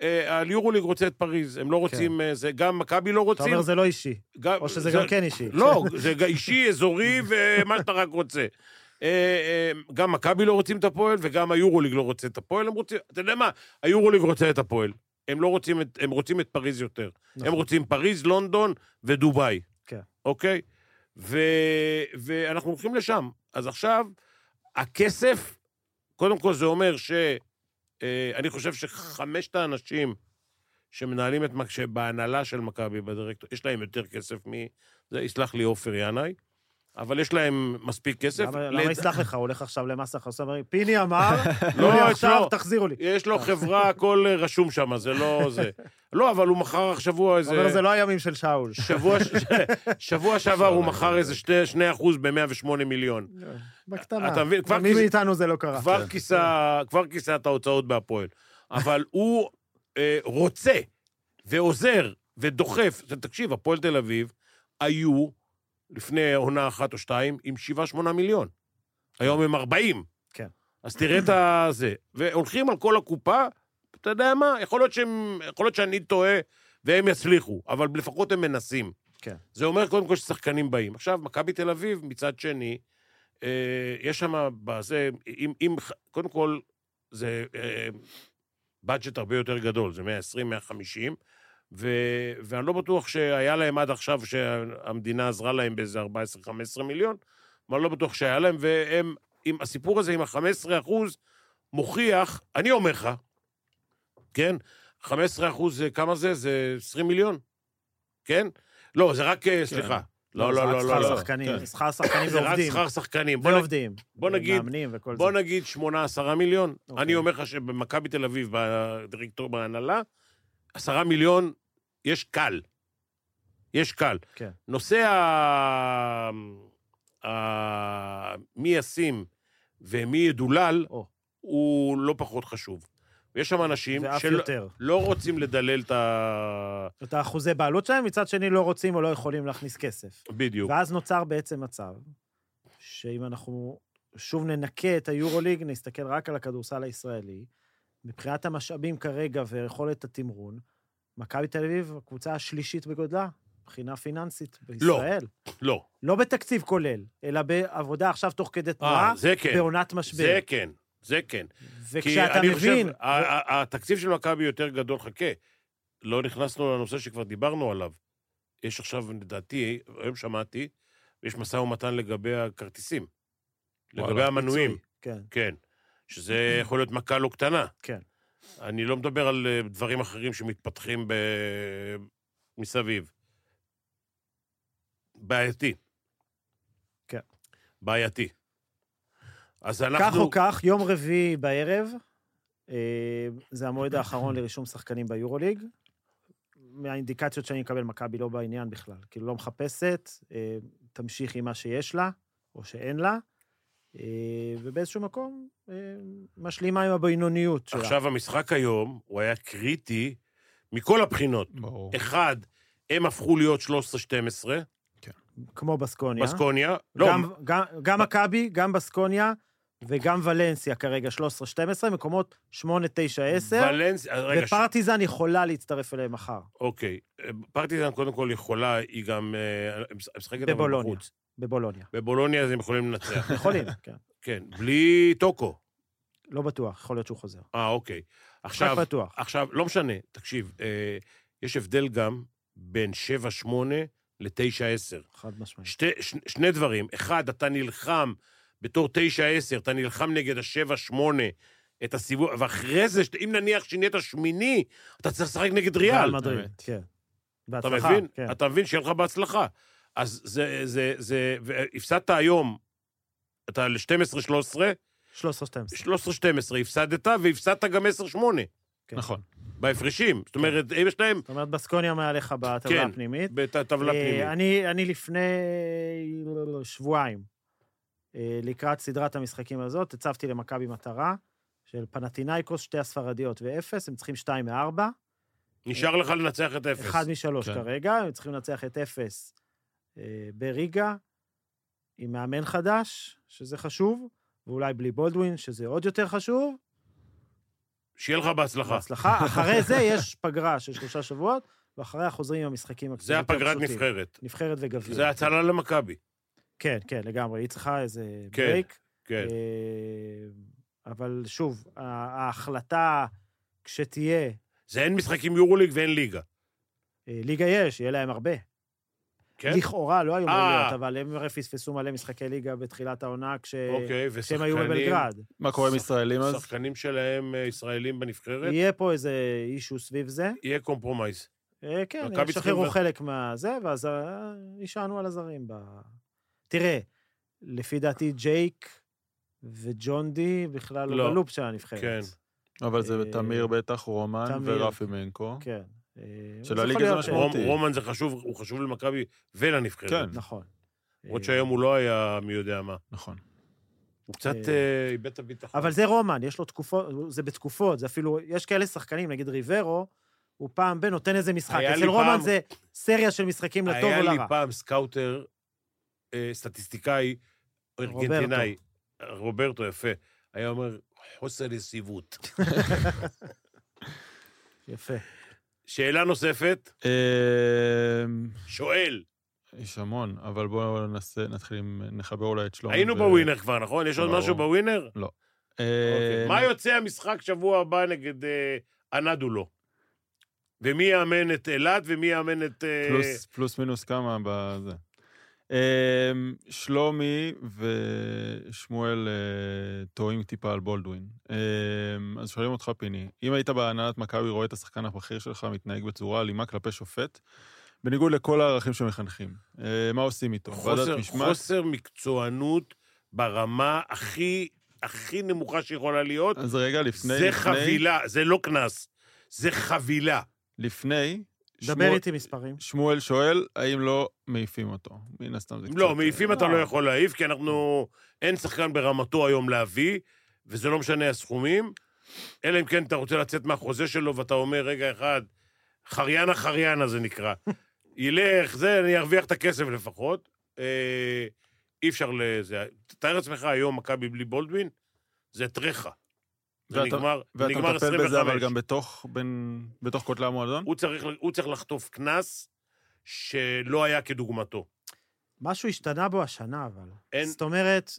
Speaker 2: אה, היורוליג רוצה את פריז, הם לא רוצים, אה, זה גם מכבי לא
Speaker 4: כן. אתה
Speaker 2: רוצים.
Speaker 4: אומר זה לא אישי,
Speaker 2: גם-
Speaker 4: או שזה גם כן אישי.
Speaker 2: לא, זה גם אישי, אזורי, ומה שאתה רק רוצה. אה, אה, גם מכבי לא רוצים את הפועל, וגם היורוליג לא רוצה את הפועל, הם רוצים, אתה יודע מה, היורוליג רוצה את הפועל. הם לא רוצים את, הם רוצים את פריז יותר. הם
Speaker 4: נכון.
Speaker 2: רוצים פריז, לונדון ודובאי.
Speaker 4: כן.
Speaker 2: אוקיי? ו... ואנחנו הולכים לשם. אז עכשיו, הכסף, קודם כל זה אומר ש... אה, אני חושב שחמשת האנשים שמנהלים את... מק- שבהנהלה של מכבי, בדירקטור, יש להם יותר כסף מ... זה יסלח לי עופר ינאי, אבל יש להם מספיק כסף.
Speaker 4: למה
Speaker 2: לד-
Speaker 4: למה יסלח לך? הוא הולך עכשיו למס הכנסה, אומר, פיני אמר,
Speaker 2: לא,
Speaker 4: לא, עכשיו
Speaker 2: אצלו.
Speaker 4: תחזירו לי.
Speaker 2: יש לו חברה, הכל אה, רשום שם, זה לא זה. לא, אבל הוא מכר השבוע איזה...
Speaker 4: הוא אומר, זה לא הימים של שאול.
Speaker 2: שבוע, ש... שבוע שעבר
Speaker 4: לא,
Speaker 2: הוא מכר איזה שתי- 2% ב-108 מיליון.
Speaker 4: בקטנה.
Speaker 2: אתה מבין? כבר
Speaker 4: מי
Speaker 2: כיס-
Speaker 4: מאיתנו זה לא קרה.
Speaker 2: כבר כיסה, כבר כיסה את ההוצאות בהפועל. אבל הוא אה, רוצה ועוזר ודוחף. תקשיב, הפועל תל אביב היו לפני עונה אחת או שתיים עם 7-8 מיליון. היום הם 40.
Speaker 4: כן.
Speaker 2: אז תראה את הזה. והולכים על כל הקופה, אתה יודע מה, יכול להיות, שהם, יכול להיות שאני טועה והם יצליחו, אבל לפחות הם מנסים.
Speaker 4: כן.
Speaker 2: זה אומר קודם כל ששחקנים באים. עכשיו, מכבי תל אביב, מצד שני, אה, יש שם בזה, אם, אם, קודם כל, זה אה, budget הרבה יותר גדול, זה 120, 150, ו, ואני לא בטוח שהיה להם עד עכשיו, שהמדינה עזרה להם באיזה 14-15 מיליון, אבל אני לא בטוח שהיה להם, והם, עם הסיפור הזה עם ה-15 אחוז, מוכיח, אני אומר לך, כן? 15 אחוז, זה- כמה זה? זה 20 מיליון, כן? לא, זה רק, אה, סליחה. לא,
Speaker 3: לא, זה
Speaker 2: לא,
Speaker 3: רק
Speaker 2: לא,
Speaker 4: שכר
Speaker 2: לא, לא.
Speaker 4: שחקנים,
Speaker 3: כן.
Speaker 4: שכר שחקנים לא
Speaker 2: זה רק
Speaker 4: ועובדים.
Speaker 2: שכר שחקנים. בוא נ-
Speaker 4: ועובדים.
Speaker 2: בוא נגיד-
Speaker 4: מאמנים וכל זה.
Speaker 2: בוא נגיד 8-10 מיליון.
Speaker 4: אוקיי.
Speaker 2: אני אומר לך שבמכבי תל אביב, בדירקטור בהנהלה, 10 מיליון, יש קל. יש קל.
Speaker 4: כן.
Speaker 2: נושא ה... ה... מי ישים ומי ידולל,
Speaker 4: או.
Speaker 2: הוא לא פחות חשוב. ויש שם אנשים
Speaker 4: ואף
Speaker 2: שלא
Speaker 4: יותר.
Speaker 2: לא רוצים לדלל את ה...
Speaker 4: את האחוזי בעלות שלהם, מצד שני לא רוצים או לא יכולים להכניס כסף.
Speaker 2: בדיוק.
Speaker 4: ואז נוצר בעצם מצב, שאם אנחנו שוב ננקה את היורוליג, נסתכל רק על הכדורסל הישראלי, מבחינת המשאבים כרגע ויכולת התמרון, מכבי תל אביב, הקבוצה השלישית בגודלה, מבחינה פיננסית בישראל.
Speaker 2: לא.
Speaker 4: לא בתקציב כולל, אלא בעבודה עכשיו תוך כדי תנועה,
Speaker 2: אה, זה כן.
Speaker 4: בעונת משבר.
Speaker 2: זה כן. זה כן.
Speaker 4: וכשאתה מבין...
Speaker 2: חושב, ה- ה- התקציב של מכבי יותר גדול, חכה. לא נכנסנו לנושא שכבר דיברנו עליו. יש עכשיו, לדעתי, היום שמעתי, יש משא ומתן לגבי הכרטיסים.
Speaker 3: וואלה,
Speaker 2: לגבי המנויים,
Speaker 4: פיצוי, כן.
Speaker 2: כן. שזה יכול להיות מכה לא קטנה.
Speaker 4: כן.
Speaker 2: אני לא מדבר על אה, דברים אחרים שמתפתחים ב... מסביב. בעייתי.
Speaker 4: כן.
Speaker 2: בעייתי. אז
Speaker 4: כך
Speaker 2: אנחנו...
Speaker 4: או כך, יום רביעי בערב, אה, זה המועד האחרון לרישום שחקנים ביורוליג. מהאינדיקציות שאני מקבל, מכבי לא בעניין בכלל. כאילו, לא מחפשת, אה, תמשיך עם מה שיש לה, או שאין לה, אה, ובאיזשהו מקום אה, משלימה עם הבינוניות שלה.
Speaker 2: עכשיו, המשחק היום, הוא היה קריטי מכל הבחינות.
Speaker 3: ברור.
Speaker 2: אחד, הם הפכו להיות 13-12,
Speaker 4: כמו בסקוניה.
Speaker 2: בסקוניה. לא,
Speaker 4: גם- גם- גם מכבי, גם בסקוניה, וגם ולנסיה כרגע, 13-12, מקומות 8, 9, 10,
Speaker 2: ולנס... אה, רגע, ש...
Speaker 4: ופרטיזן יכולה להצטרף אליהם מחר,
Speaker 2: אוקיי. פרטיזן קודם כל יכולה, היא גם... אה, היא משחקת אבל
Speaker 4: בבולוניה.
Speaker 2: בחוץ.
Speaker 4: בבולוניה.
Speaker 2: בבולוניה אז הם יכולים לנצח.
Speaker 4: יכולים, כן.
Speaker 2: כן, בלי טוקו.
Speaker 4: לא בטוח, יכול להיות שהוא חוזר.
Speaker 2: אה, אוקיי.
Speaker 4: עכשיו...
Speaker 2: עכשיו,
Speaker 4: רק בטוח.
Speaker 2: עכשיו, לא משנה, תקשיב, אה, יש הבדל גם בין 7-8 ל-9-10.
Speaker 4: חד משמעית.
Speaker 2: שתי, ש, שני דברים. אחד, אתה נלחם בתור 9-10, אתה נלחם נגד ה-7-8, את הסיבוב, ואחרי זה, שת- אם נניח שנהיית שמיני, אתה צריך לשחק נגד ריאל.
Speaker 4: ריאל מדריד,
Speaker 3: באמת.
Speaker 4: כן.
Speaker 2: אתה
Speaker 4: בהצלחה,
Speaker 2: מבין?
Speaker 4: כן.
Speaker 2: אתה מבין שיהיה לך בהצלחה. אז זה, זה, זה, והפסדת היום, אתה ל-12-13,
Speaker 4: 13-12.
Speaker 2: 13-12 הפסדת, והפסדת גם 10-8
Speaker 4: כן.
Speaker 3: נכון.
Speaker 2: בהפרשים. זאת אומרת, אם יש להם
Speaker 4: זאת אומרת, בסקוניה מעליך בטבלה
Speaker 2: כן.
Speaker 4: הפנימית.
Speaker 2: בטבלה
Speaker 4: אה,
Speaker 2: פנימית.
Speaker 4: אני, אני לפני שבועיים, אה, לקראת סדרת המשחקים הזאת, הצבתי למכבי מטרה של פנטינאיקוס, שתי הספרדיות ואפס, הם צריכים שתיים מארבע,
Speaker 2: נשאר לך לנצח את אפס.
Speaker 4: אחד משלוש
Speaker 3: כן.
Speaker 4: כרגע, הם צריכים לנצח את אפס אה, בריגה, עם מאמן חדש, שזה חשוב, ואולי בלי בולדווין, שזה עוד יותר חשוב,
Speaker 2: שיהיה לך בהצלחה.
Speaker 4: בהצלחה. אחרי זה יש פגרה של שלושה שבועות, ואחריה חוזרים עם המשחקים
Speaker 2: זה
Speaker 4: הקצת
Speaker 2: הפגרת
Speaker 4: פשוטים.
Speaker 2: נבחרת.
Speaker 4: נבחרת וגביע.
Speaker 2: זה הצלה למכבי.
Speaker 4: כן, כן, לגמרי. היא צריכה איזה
Speaker 2: כן,
Speaker 4: ברייק.
Speaker 2: כן.
Speaker 4: אה, אבל שוב, ה- ההחלטה כשתהיה,
Speaker 2: זה אין משחקים יורוליג ואין ליגה.
Speaker 4: אה, ליגה יש, יהיה להם הרבה.
Speaker 2: כן?
Speaker 4: לכאורה, לא היו
Speaker 2: אה.
Speaker 4: אמורים להיות, אבל הם הרי פספסו מלא משחקי ליגה בתחילת העונה כש...
Speaker 2: אוקיי,
Speaker 4: כשהם אה, היו בבלגרד.
Speaker 3: מה קורה עם ישראלים אז?
Speaker 2: שחקנים שלהם אה, ישראלים בנבחרת,
Speaker 4: יהיה פה איזה אישו סביב זה.
Speaker 2: יהיה קומפרומייז.
Speaker 4: אה, כן,
Speaker 2: מכבי
Speaker 4: הם ישחררו
Speaker 2: צריכים-
Speaker 4: חלק מהזה, ואז אה, יישענו על הזרים. ב... תראה, לפי דעתי ג'ייק וג'ון די בכלל לא
Speaker 2: לא.
Speaker 4: בלופ של הנבחרת.
Speaker 2: כן.
Speaker 3: אבל זה
Speaker 4: אה,
Speaker 3: תמיר בטח, רומן
Speaker 4: תמיר.
Speaker 3: ורפי מנקו.
Speaker 4: כן. אה,
Speaker 3: של
Speaker 4: אז יכול
Speaker 3: הליגה זה
Speaker 4: להיות ש-
Speaker 3: משמעותי.
Speaker 2: רום- רומן זה חשוב, הוא חשוב למכבי ולנבחרת.
Speaker 3: כן.
Speaker 4: נכון.
Speaker 2: למרות
Speaker 4: אה,
Speaker 2: שהיום הוא לא היה מי יודע מה.
Speaker 3: נכון.
Speaker 2: הוא קצת
Speaker 4: אה,
Speaker 2: אה, איבד את הביטחון.
Speaker 4: אבל זה רומן, יש לו תקופות, זה בתקופות, זה אפילו, יש כאלה שחקנים, נגיד ריברו, הוא פעם ב- נותן איזה משחק.
Speaker 2: היה
Speaker 4: אצל
Speaker 2: לי
Speaker 4: רומן
Speaker 2: פעם-
Speaker 4: זה סריה של משחקים לטוב
Speaker 2: היה
Speaker 4: או
Speaker 2: לי
Speaker 4: לרע.
Speaker 2: פעם סקאוטר, אה, סטטיסטיקאי, ארגנטינאי, רוברטו, יפה, היה אומר, חוסר יציבות.
Speaker 4: יפה.
Speaker 2: שאלה נוספת,
Speaker 3: אמ,
Speaker 2: שואל,
Speaker 3: יש המון, אבל בואו ננסה, נתחיל עם, נחבר אולי את שלומי.
Speaker 4: אה,
Speaker 2: היינו
Speaker 3: ו-
Speaker 2: בווינר כבר, נכון? יש עוד
Speaker 3: ברור.
Speaker 2: משהו בווינר?
Speaker 3: אה,
Speaker 2: אוקיי, מה יוצא המשחק שבוע הבא נגד אה, אנדולו? ומי יאמן את אילת ומי יאמן את... אה,
Speaker 3: פלוס, פלוס מינוס כמה בזה. אמ, שלומי ושמואל אה, טועים טיפה על בולדווין. אמ, אז שואלים אותך, פיני, אם היית בהנהלת מכבי רואה את השחקן הבכיר שלך מתנהג בצורה אלימה כלפי שופט, בניגוד לכל הערכים שמחנכים, אה, מה עושים איתו?
Speaker 2: חוסר,
Speaker 3: ועדת משמעת?
Speaker 2: חוסר מקצוענות ברמה הכי, הכי נמוכה שיכולה להיות.
Speaker 3: אז רגע, אה, לפני...
Speaker 2: זה
Speaker 3: לפני,
Speaker 2: חבילה, זה לא קנס, זה חבילה.
Speaker 3: לפני,
Speaker 4: דבר
Speaker 3: שמואל,
Speaker 4: איתי מספרים.
Speaker 3: שמואל שואל, האם לא מעיפים אותו? מן הסתם זה קצת... אה,
Speaker 2: לא, מעיפים אתה
Speaker 4: לא.
Speaker 2: לא יכול להעיף, כי אנחנו... אין שחקן ברמתו היום להביא, וזה לא משנה הסכומים, אלא אם כן אתה רוצה לצאת מהחוזה שלו ואתה אומר, רגע אחד, חריינה חריינה זה נקרא. ילך, זה, אני ארוויח את הכסף לפחות. אה, אי אפשר לזה. תאר לעצמך היום מכבי בלי בולדווין, זה טרחה. זה
Speaker 3: ואתה-
Speaker 2: נגמר, זה
Speaker 3: ואתה
Speaker 2: נגמר
Speaker 3: מטפל
Speaker 2: 25.
Speaker 3: בזה, אבל גם בתוך, בין, בתוך כותלי המועדון?
Speaker 2: הוא צריך, הוא צריך לחטוף קנס שלא היה כדוגמתו.
Speaker 4: משהו השתנה בו השנה, אבל.
Speaker 2: אין-
Speaker 4: זאת אומרת,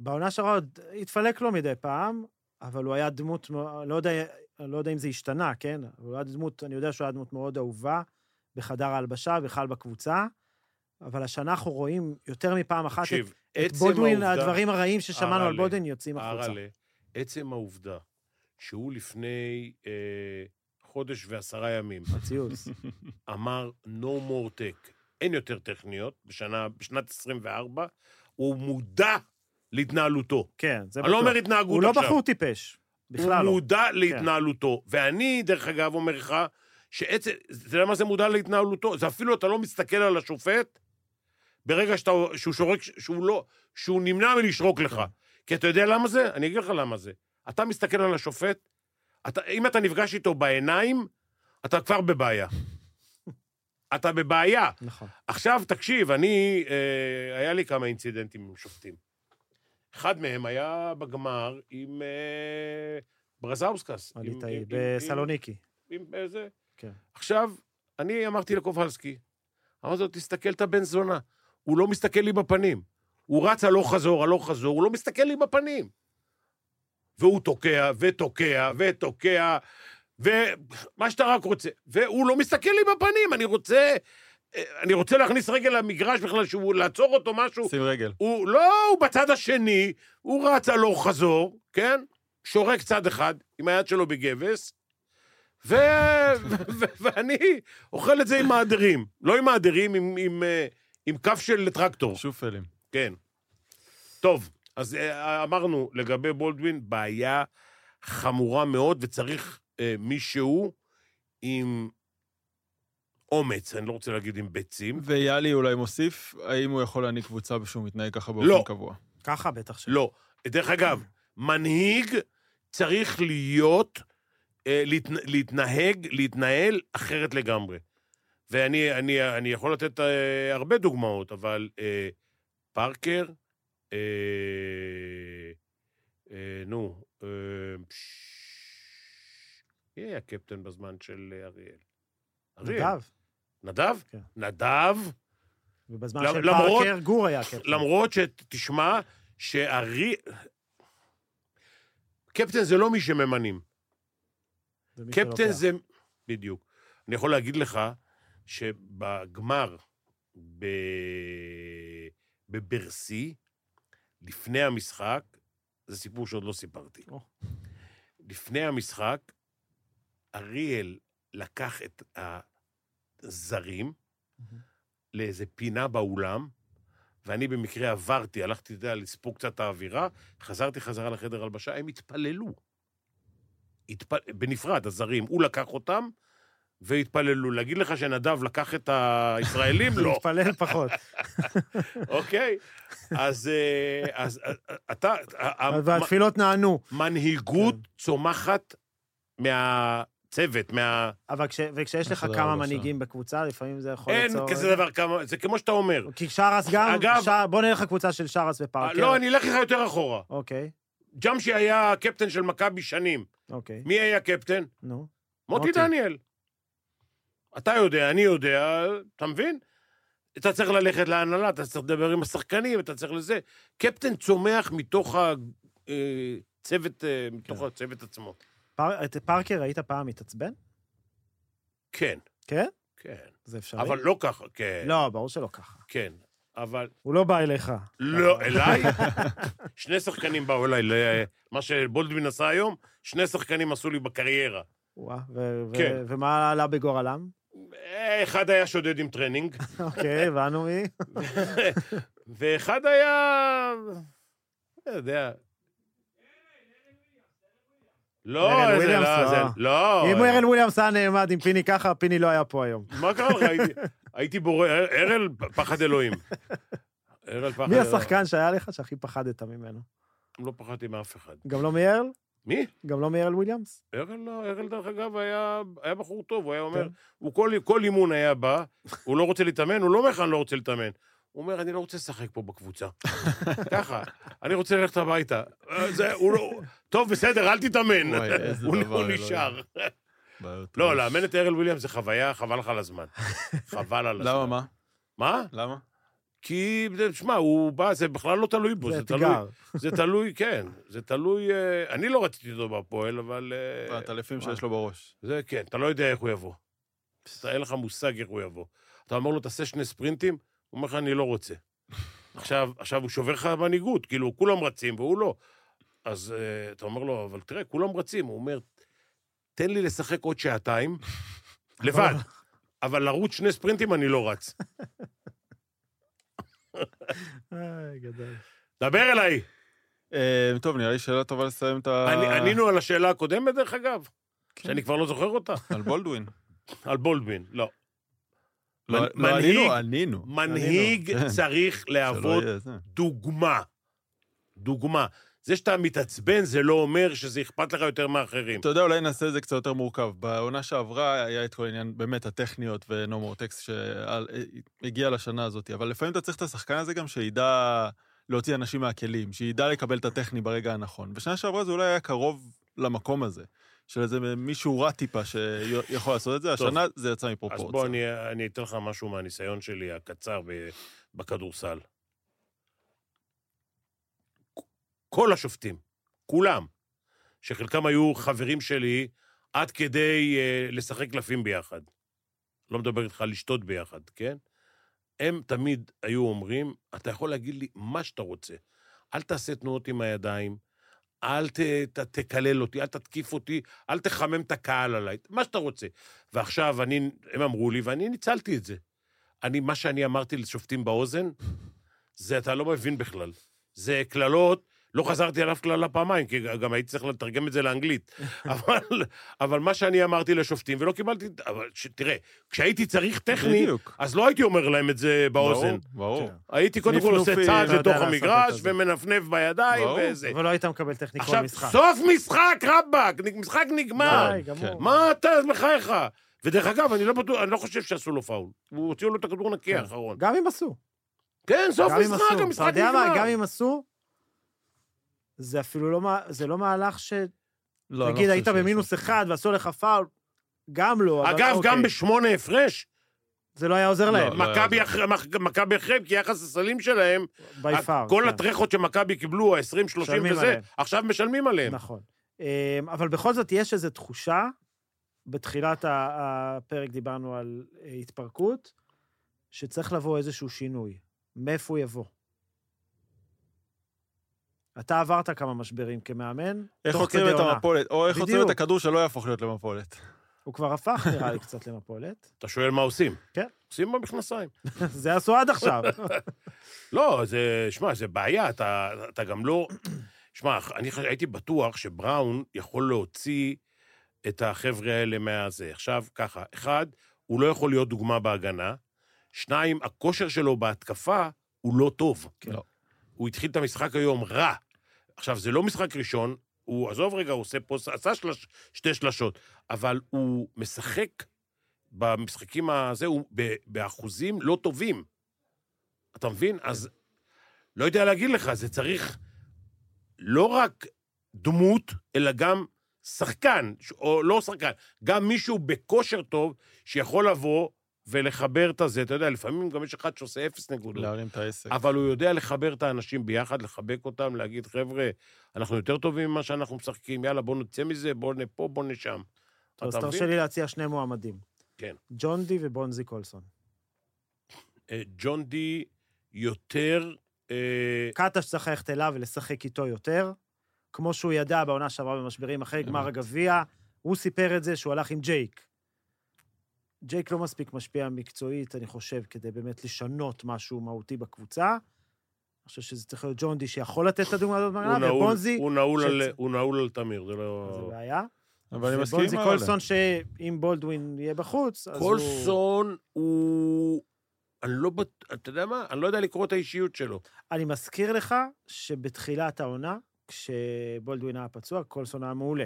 Speaker 4: בעונה שעברה עוד התפלק לו מדי פעם, אבל הוא היה דמות, מאו- לא יודע, אני לא יודע אם זה השתנה, כן? אבל הוא היה דמות, אני יודע שהוא היה דמות מאוד אהובה בחדר ההלבשה, בכלל בקבוצה, אבל השנה אנחנו רואים יותר מפעם אחת את,
Speaker 2: תקשיב,
Speaker 4: את
Speaker 2: עצם
Speaker 4: בולדווין,
Speaker 2: העובדה-
Speaker 4: הדברים הרעים ששמענו על
Speaker 2: הרעלה,
Speaker 4: בולדווין יוצאים החוצה.
Speaker 2: הרעלה, עצם העובדה שהוא לפני אה, חודש ועשרה ימים
Speaker 4: הציוץ.
Speaker 2: אמר no more tech, אין יותר טכניות, בשנה, בשנת 24, הוא מודע להתנהלותו.
Speaker 4: כן, זה
Speaker 2: אני לא
Speaker 4: בטוח.
Speaker 2: אומר התנהגות
Speaker 4: הוא לא
Speaker 2: עכשיו.
Speaker 4: בחור טיפש. בכלל
Speaker 2: הוא
Speaker 4: לא.
Speaker 2: מודע להתנהלותו. ואני, דרך אגב, אומר לך, שעצם, אתה יודע מה זה מודע להתנהלותו? זה אפילו אתה לא מסתכל על השופט ברגע שאתה, שהוא שורק, שהוא לא, שהוא נמנע מלשרוק
Speaker 4: כן.
Speaker 2: לך. כי אתה יודע למה זה? אני אגיד לך למה זה. אתה מסתכל על השופט, אתה, אם אתה נפגש איתו בעיניים, אתה כבר בבעיה. אתה בבעיה.
Speaker 4: נכון.
Speaker 2: עכשיו, תקשיב, אני, אה, היה לי כמה אינצידנטים עם שופטים. אחד מהם היה בגמר עם אה, ברזאוסקס. עם-
Speaker 4: הליטאי,
Speaker 2: עם-
Speaker 4: בסלוניקי.
Speaker 2: עם, עם איזה...
Speaker 4: כן.
Speaker 2: עכשיו, אני אמרתי לקובלסקי, אמרתי לו, תסתכל את הבן זונה, הוא לא מסתכל לי בפנים. הוא רץ הלוך חזור, הלוך חזור, הוא לא מסתכל לי בפנים. והוא תוקע, ותוקע, ותוקע, ומה שאתה רק רוצה. והוא לא מסתכל לי בפנים, אני רוצה... אה, אני רוצה להכניס רגל למגרש בכלל, שהוא, לעצור אותו משהו.
Speaker 3: שים רגל.
Speaker 2: הוא לא, הוא בצד השני, הוא רץ הלוך חזור, כן? שורק צד אחד עם היד שלו בגבס, ו... ו... ואני אוכל את זה עם מעדרים. לא עם מעדרים, עם, עם, אה, עם כף של טרקטור,
Speaker 3: שופלים.
Speaker 2: כן. טוב, אז אה, אמרנו לגבי בולדווין, בעיה חמורה מאוד, וצריך אה, מישהו עם אומץ, אני לא רוצה להגיד עם ביצים.
Speaker 3: ויאלי אולי מוסיף, האם הוא יכול להעניק קבוצה ושהוא מתנהג ככה
Speaker 2: לא.
Speaker 3: באופן קבוע?
Speaker 4: ככה בטח ש...
Speaker 2: לא. דרך אגב, מנהיג צריך להיות, אה, להתנה, להתנהג, להתנהל אחרת לגמרי. ואני אני, אני יכול לתת אה, הרבה דוגמאות, אבל אה, פארקר, אה, אה, נו, אה, פש- מי היה קפטן בזמן של אה, אריאל? אריאל.
Speaker 4: נדב.
Speaker 2: נדב?
Speaker 4: כן.
Speaker 2: נדב,
Speaker 4: ובזמן
Speaker 2: למ-
Speaker 4: של
Speaker 2: למרות-
Speaker 4: פארקר, גור היה קפטן.
Speaker 2: כן. למרות שתשמע שהרי... קפטן זה לא מי שממנים.
Speaker 4: זה מי שלא
Speaker 2: קפטן
Speaker 4: קיים.
Speaker 2: זה... בדיוק. אני יכול להגיד לך שבגמר ב... בברסי, לפני המשחק, זה סיפור שעוד לא סיפרתי.
Speaker 4: או.
Speaker 2: לפני המשחק, אריאל לקח את הזרים
Speaker 4: מהמם.
Speaker 2: לאיזה פינה באולם, ואני במקרה עברתי, הלכתי, אתה יודע, לספוג קצת את האווירה, חזרתי חזרה לחדר הלבשה, הם התפללו. התפ... בנפרד, הזרים. הוא לקח אותם והתפללו. להגיד לך שנדב לקח את הישראלים? לא.
Speaker 4: מתפלל פחות.
Speaker 2: אוקיי? אז, אה, אז אה, אתה...
Speaker 4: והתפילות נענו.
Speaker 2: מנהיגות צומחת מהצוות, מה...
Speaker 4: אבל כש- וכשיש לך
Speaker 3: תודה
Speaker 4: כמה
Speaker 3: רבה,
Speaker 4: מנהיגים בקבוצה, לפעמים זה יכול
Speaker 2: אין
Speaker 4: ליצור...
Speaker 2: כזה דבר כמה... זה כמו שאתה אומר.
Speaker 4: כי שרס גם,
Speaker 2: אגב-
Speaker 4: שר- בוא נלך לקבוצה של שרס ופארקר.
Speaker 2: לא, אני אלך לך יותר אחורה.
Speaker 4: אוקיי,
Speaker 2: ג'אמשי היה הקפטן של מכבי שנים.
Speaker 4: אוקיי,
Speaker 2: מי היה קפטן?
Speaker 4: נו.
Speaker 2: מוטי
Speaker 4: מוטי.
Speaker 2: דניאל. אתה יודע, אני יודע, אתה מבין? אתה צריך ללכת להנהלה, אתה צריך לדבר עם השחקנים, אתה צריך לזה. קפטן צומח מתוך הצוות, אה,
Speaker 4: כן.
Speaker 2: מתוך הצוות עצמו.
Speaker 4: פאר- את פארקר ראית פעם מתעצבן?
Speaker 2: כן,
Speaker 4: כן?
Speaker 2: כן.
Speaker 4: זה אפשרי?
Speaker 2: אבל לא ככה, כן,
Speaker 4: לא, ברור שלא ככה.
Speaker 2: כן. אבל
Speaker 4: הוא לא בא אליך.
Speaker 2: לא, אליי? שני שחקנים באו אליי, למה שבולדווין עשה היום, שני שחקנים עשו לי בקריירה.
Speaker 4: וואה, ו- ו-
Speaker 2: כן.
Speaker 4: ומה עלה בגורלם?
Speaker 2: אה, אחד היה שודד עם טרנינג,
Speaker 4: אוקיי, הבנו מי.
Speaker 2: ואחד היה... לא יודע.
Speaker 4: ארן
Speaker 2: לא, איזה
Speaker 4: וויליאמס,
Speaker 2: לא,
Speaker 4: לא.
Speaker 2: זה... לא.
Speaker 4: אם ארן וויליאמס היה נעמד עם פיני ככה, פיני לא היה פה היום.
Speaker 2: מה קרה לך? הייתי- הייתי בורא... ארל פחד אלוהים. ארל פחד
Speaker 4: מי
Speaker 2: אלוהים.
Speaker 4: השחקן שהיה לך שהכי פחדת ממנו?
Speaker 2: לא פחדתי מאף אחד.
Speaker 4: גם לא מארל?
Speaker 2: מי?
Speaker 4: גם לא מארל וויליאמס?
Speaker 2: ארל, לא, ארל דרך אגב היה, היה בחור טוב, הוא היה אומר,
Speaker 4: כן.
Speaker 2: הוא כל, כל אימון היה בא, הוא לא רוצה להתאמן, הוא לא אומר לך אני לא רוצה להתאמן. הוא אומר, אני לא רוצה לשחק פה בקבוצה. ככה, אני רוצה ללכת הביתה. אה, זה, הוא לא... טוב, בסדר, אל תתאמן.
Speaker 3: וואי, איזה
Speaker 2: הוא,
Speaker 3: דבר,
Speaker 2: הוא
Speaker 3: אלוהים.
Speaker 2: נשאר.
Speaker 3: בעיות
Speaker 2: לא,
Speaker 3: ממש.
Speaker 2: לאמן את ארל וויליאמס זה חוויה, חבל לך על הזמן. חבל על הזמן.
Speaker 3: למה מה?
Speaker 2: מה?
Speaker 3: למה?
Speaker 2: כי, תשמע, הוא בא, זה בכלל לא תלוי בו,
Speaker 4: זה
Speaker 2: זה, תלוי,
Speaker 4: אתגר.
Speaker 2: זה תלוי, כן, זה תלוי, אה, אני לא רציתי אותו בהפועל, אבל... אה,
Speaker 3: הטלפים
Speaker 2: וואי.
Speaker 3: שיש לו בראש.
Speaker 2: זה כן, אתה לא יודע איך הוא יבוא. אתה אין לך מושג איך הוא יבוא. אתה אומר לו, תעשה שני ספרינטים, הוא אומר לך, אני לא רוצה. עכשיו, עכשיו הוא שובר לך מנהיגות, כאילו, כולם רצים והוא לא. אז אה, אתה אומר לו, אבל תראה, כולם רצים. הוא אומר, תן לי לשחק עוד שעתיים, לבד, אבל לרוץ שני ספרינטים אני לא רץ.
Speaker 4: איי, גדול.
Speaker 2: דבר אליי.
Speaker 3: אה, טוב, נראה לי שאלה טובה לסיים את ה...
Speaker 2: אני- ענינו על השאלה הקודמת, דרך אגב,
Speaker 3: כן.
Speaker 2: שאני כבר לא זוכר אותה,
Speaker 3: על בולדווין.
Speaker 2: על בולדווין, לא.
Speaker 3: לא,
Speaker 2: מנ-
Speaker 3: לא,
Speaker 2: מנהיג-
Speaker 3: ענינו, ענינו.
Speaker 2: מנהיג
Speaker 3: כן.
Speaker 2: צריך
Speaker 3: שלא
Speaker 2: להוות
Speaker 3: יהיה זה.
Speaker 2: דוגמה. דוגמה. זה שאתה מתעצבן זה לא אומר שזה אכפת לך יותר מאחרים.
Speaker 3: אתה יודע, אולי נעשה את זה קצת יותר מורכב. בעונה שעברה היה את כל העניין, באמת, הטכניות ונומורטקס שהגיע אה, לשנה הזאת, אבל לפעמים אתה צריך את השחקן הזה גם שידע להוציא אנשים מהכלים, שידע לקבל את הטכני ברגע הנכון. בשנה שעברה זה אולי היה קרוב למקום הזה, של איזה מישהו רע טיפה שיכול לעשות את זה,
Speaker 2: טוב.
Speaker 3: השנה זה יצא
Speaker 2: אז
Speaker 3: מפרופורציה.
Speaker 2: בוא, אני, אני אתן לך משהו מהניסיון שלי הקצר ב- בכדורסל. כל השופטים, כולם, שחלקם היו חברים שלי, עד כדי אה, לשחק קלפים ביחד. לא מדבר איתך על לשתות ביחד, כן? הם תמיד היו אומרים, אתה יכול להגיד לי מה שאתה רוצה. אל תעשה תנועות עם הידיים, אל ת, ת, תקלל אותי, אל תתקיף אותי, אל תחמם את הקהל עליי, מה שאתה רוצה. ועכשיו אני, הם אמרו לי, ואני ניצלתי את זה. אני, מה שאני אמרתי לשופטים באוזן, זה אתה לא מבין בכלל. זה קללות, לא חזרתי עליו קללה פעמיים, כי גם הייתי צריך לתרגם את זה לאנגלית. אבל, אבל מה שאני אמרתי לשופטים, ולא קיבלתי, אבל ש, תראה, כשהייתי צריך טכני,
Speaker 3: בדיוק.
Speaker 2: אז לא הייתי אומר להם את זה באוזן.
Speaker 3: ברור, ברור.
Speaker 4: כן.
Speaker 2: הייתי קודם כל עושה
Speaker 3: נפנופים,
Speaker 2: צעד
Speaker 4: לא יודע
Speaker 2: לתוך
Speaker 4: לעשות
Speaker 2: המגרש
Speaker 4: את זה.
Speaker 2: ומנפנף בידיים
Speaker 3: ברור.
Speaker 2: וזה.
Speaker 4: אבל לא היית מקבל טכני כל
Speaker 2: עכשיו,
Speaker 4: משחק. אה.
Speaker 2: סוף משחק, רבאק, נג- משחק נגמר.
Speaker 4: די,
Speaker 3: כן.
Speaker 4: גמור.
Speaker 2: מה אתה, בחייך? ודרך אגב, אני לא בטוח, אני לא חושב שעשו לו פאול. הוא הוציאו לו את הכדור נקי
Speaker 4: כן.
Speaker 2: האחרון.
Speaker 4: גם אם עשו.
Speaker 2: כן, סוף
Speaker 4: גם אם
Speaker 2: משחק,
Speaker 4: עשו. אתה
Speaker 2: המשחק
Speaker 4: יודע מה, גם
Speaker 2: נגמר.
Speaker 4: אם עשו, זה אפילו לא, מה- זה לא מהלך ש...
Speaker 3: לא, אני לא
Speaker 4: נגיד,
Speaker 3: חושב
Speaker 4: היית
Speaker 3: שיש-
Speaker 4: במינוס אחד ועשו לך פאול, גם לא, אבל
Speaker 2: אגב, גם
Speaker 4: אוקיי.
Speaker 2: בשמונה הפרש,
Speaker 4: זה לא היה עוזר
Speaker 3: לא,
Speaker 4: להם,
Speaker 3: לא.
Speaker 2: מכבי
Speaker 3: היה
Speaker 2: אחרי- מח- מכבי אחריהם, כי יחס הסלים שלהם,
Speaker 4: by far.
Speaker 2: כל
Speaker 4: כן.
Speaker 2: הטרחות שמכבי קיבלו, ה-20, 30
Speaker 4: משלמים
Speaker 2: וזה,
Speaker 4: עליהם.
Speaker 2: עכשיו משלמים עליהם.
Speaker 4: נכון. אמ, אבל בכל זאת, יש איזו תחושה, בתחילת ה- הפרק דיברנו על אה, התפרקות, שצריך לבוא איזשהו שינוי. מאיפה הוא יבוא? אתה עברת כמה משברים כמאמן,
Speaker 3: איך
Speaker 4: תוך
Speaker 3: עוצרים
Speaker 4: כדי
Speaker 3: את
Speaker 4: עונה.
Speaker 3: המפולת, או איך עוצרים את
Speaker 4: בדיוק.
Speaker 3: הכדור שלא יהפוך להיות למפולת.
Speaker 4: הוא כבר הפך, נראה לי, קצת למפולת.
Speaker 2: אתה שואל מה עושים?
Speaker 4: כן.
Speaker 2: עושים במכנסיים.
Speaker 4: זה עשו עד עכשיו.
Speaker 2: לא, זה, שמע, זה בעיה, אתה, אתה גם לא... שמע, אני חש- הייתי בטוח שבראון יכול להוציא את החבר'ה האלה מהזה. עכשיו, ככה, אחד, הוא לא יכול להיות דוגמה בהגנה, שניים, הכושר שלו בהתקפה הוא לא טוב.
Speaker 3: כן. לא.
Speaker 2: הוא התחיל את המשחק היום רע. עכשיו, זה לא משחק ראשון, הוא, עזוב רגע, הוא עושה פה, עשה שלש, שתי שלשות, אבל הוא משחק במשחקים הזה, הוא ב- באחוזים לא טובים. אתה מבין? אז לא יודע להגיד לך, זה צריך לא רק דמות, אלא גם שחקן, ש- או לא שחקן, גם מישהו בכושר טוב שיכול לבוא ולחבר את הזה. אתה יודע, לפעמים גם יש אחד שעושה אפס נקודות.
Speaker 3: להרים את העסק.
Speaker 2: אבל הוא יודע לחבר את האנשים ביחד, לחבק אותם, להגיד, חבר'ה, אנחנו יותר טובים ממה שאנחנו משחקים, יאללה, בואו נצא מזה, בואו נפה, בואו נשם.
Speaker 4: אז
Speaker 2: אתה
Speaker 4: תרשה
Speaker 2: מבין?
Speaker 4: לי להציע שני מועמדים.
Speaker 2: כן.
Speaker 4: ג'ון די ובונזי קולסון.
Speaker 2: אה, ג'ון די יותר... אה,
Speaker 4: קטש צריך ללכת אליו ולשחק איתו יותר, כמו שהוא ידע בעונה שעברה במשברים אחרי גמר
Speaker 3: אמת.
Speaker 4: הגביע, הוא סיפר את זה שהוא הלך עם ג'ייק. ג'ייק לא מספיק משפיע מקצועית, אני חושב, כדי באמת לשנות משהו מהותי בקבוצה. אני חושב שזה צריך להיות ג'ונדי שיכול לתת את הדוגמה הזאת
Speaker 2: הוא
Speaker 4: בעונה,
Speaker 2: נעול-
Speaker 4: ובונזי,
Speaker 2: הוא נעול על-
Speaker 4: שצ-
Speaker 2: הוא נעול על תמיר, זה
Speaker 4: זה
Speaker 2: לא...
Speaker 4: בעיה.
Speaker 3: אבל אני מסכים עם
Speaker 4: ובונזי
Speaker 3: אהרל'ה.
Speaker 4: קולסון, שאם בולדווין יהיה בחוץ, אז הוא...
Speaker 2: קולסון הוא... אני לא בט... אתה יודע מה? אני לא יודע לקרוא את האישיות שלו.
Speaker 4: אני מזכיר לך שבתחילת העונה, כשבולדווין היה פצוע, קולסון היה מעולה.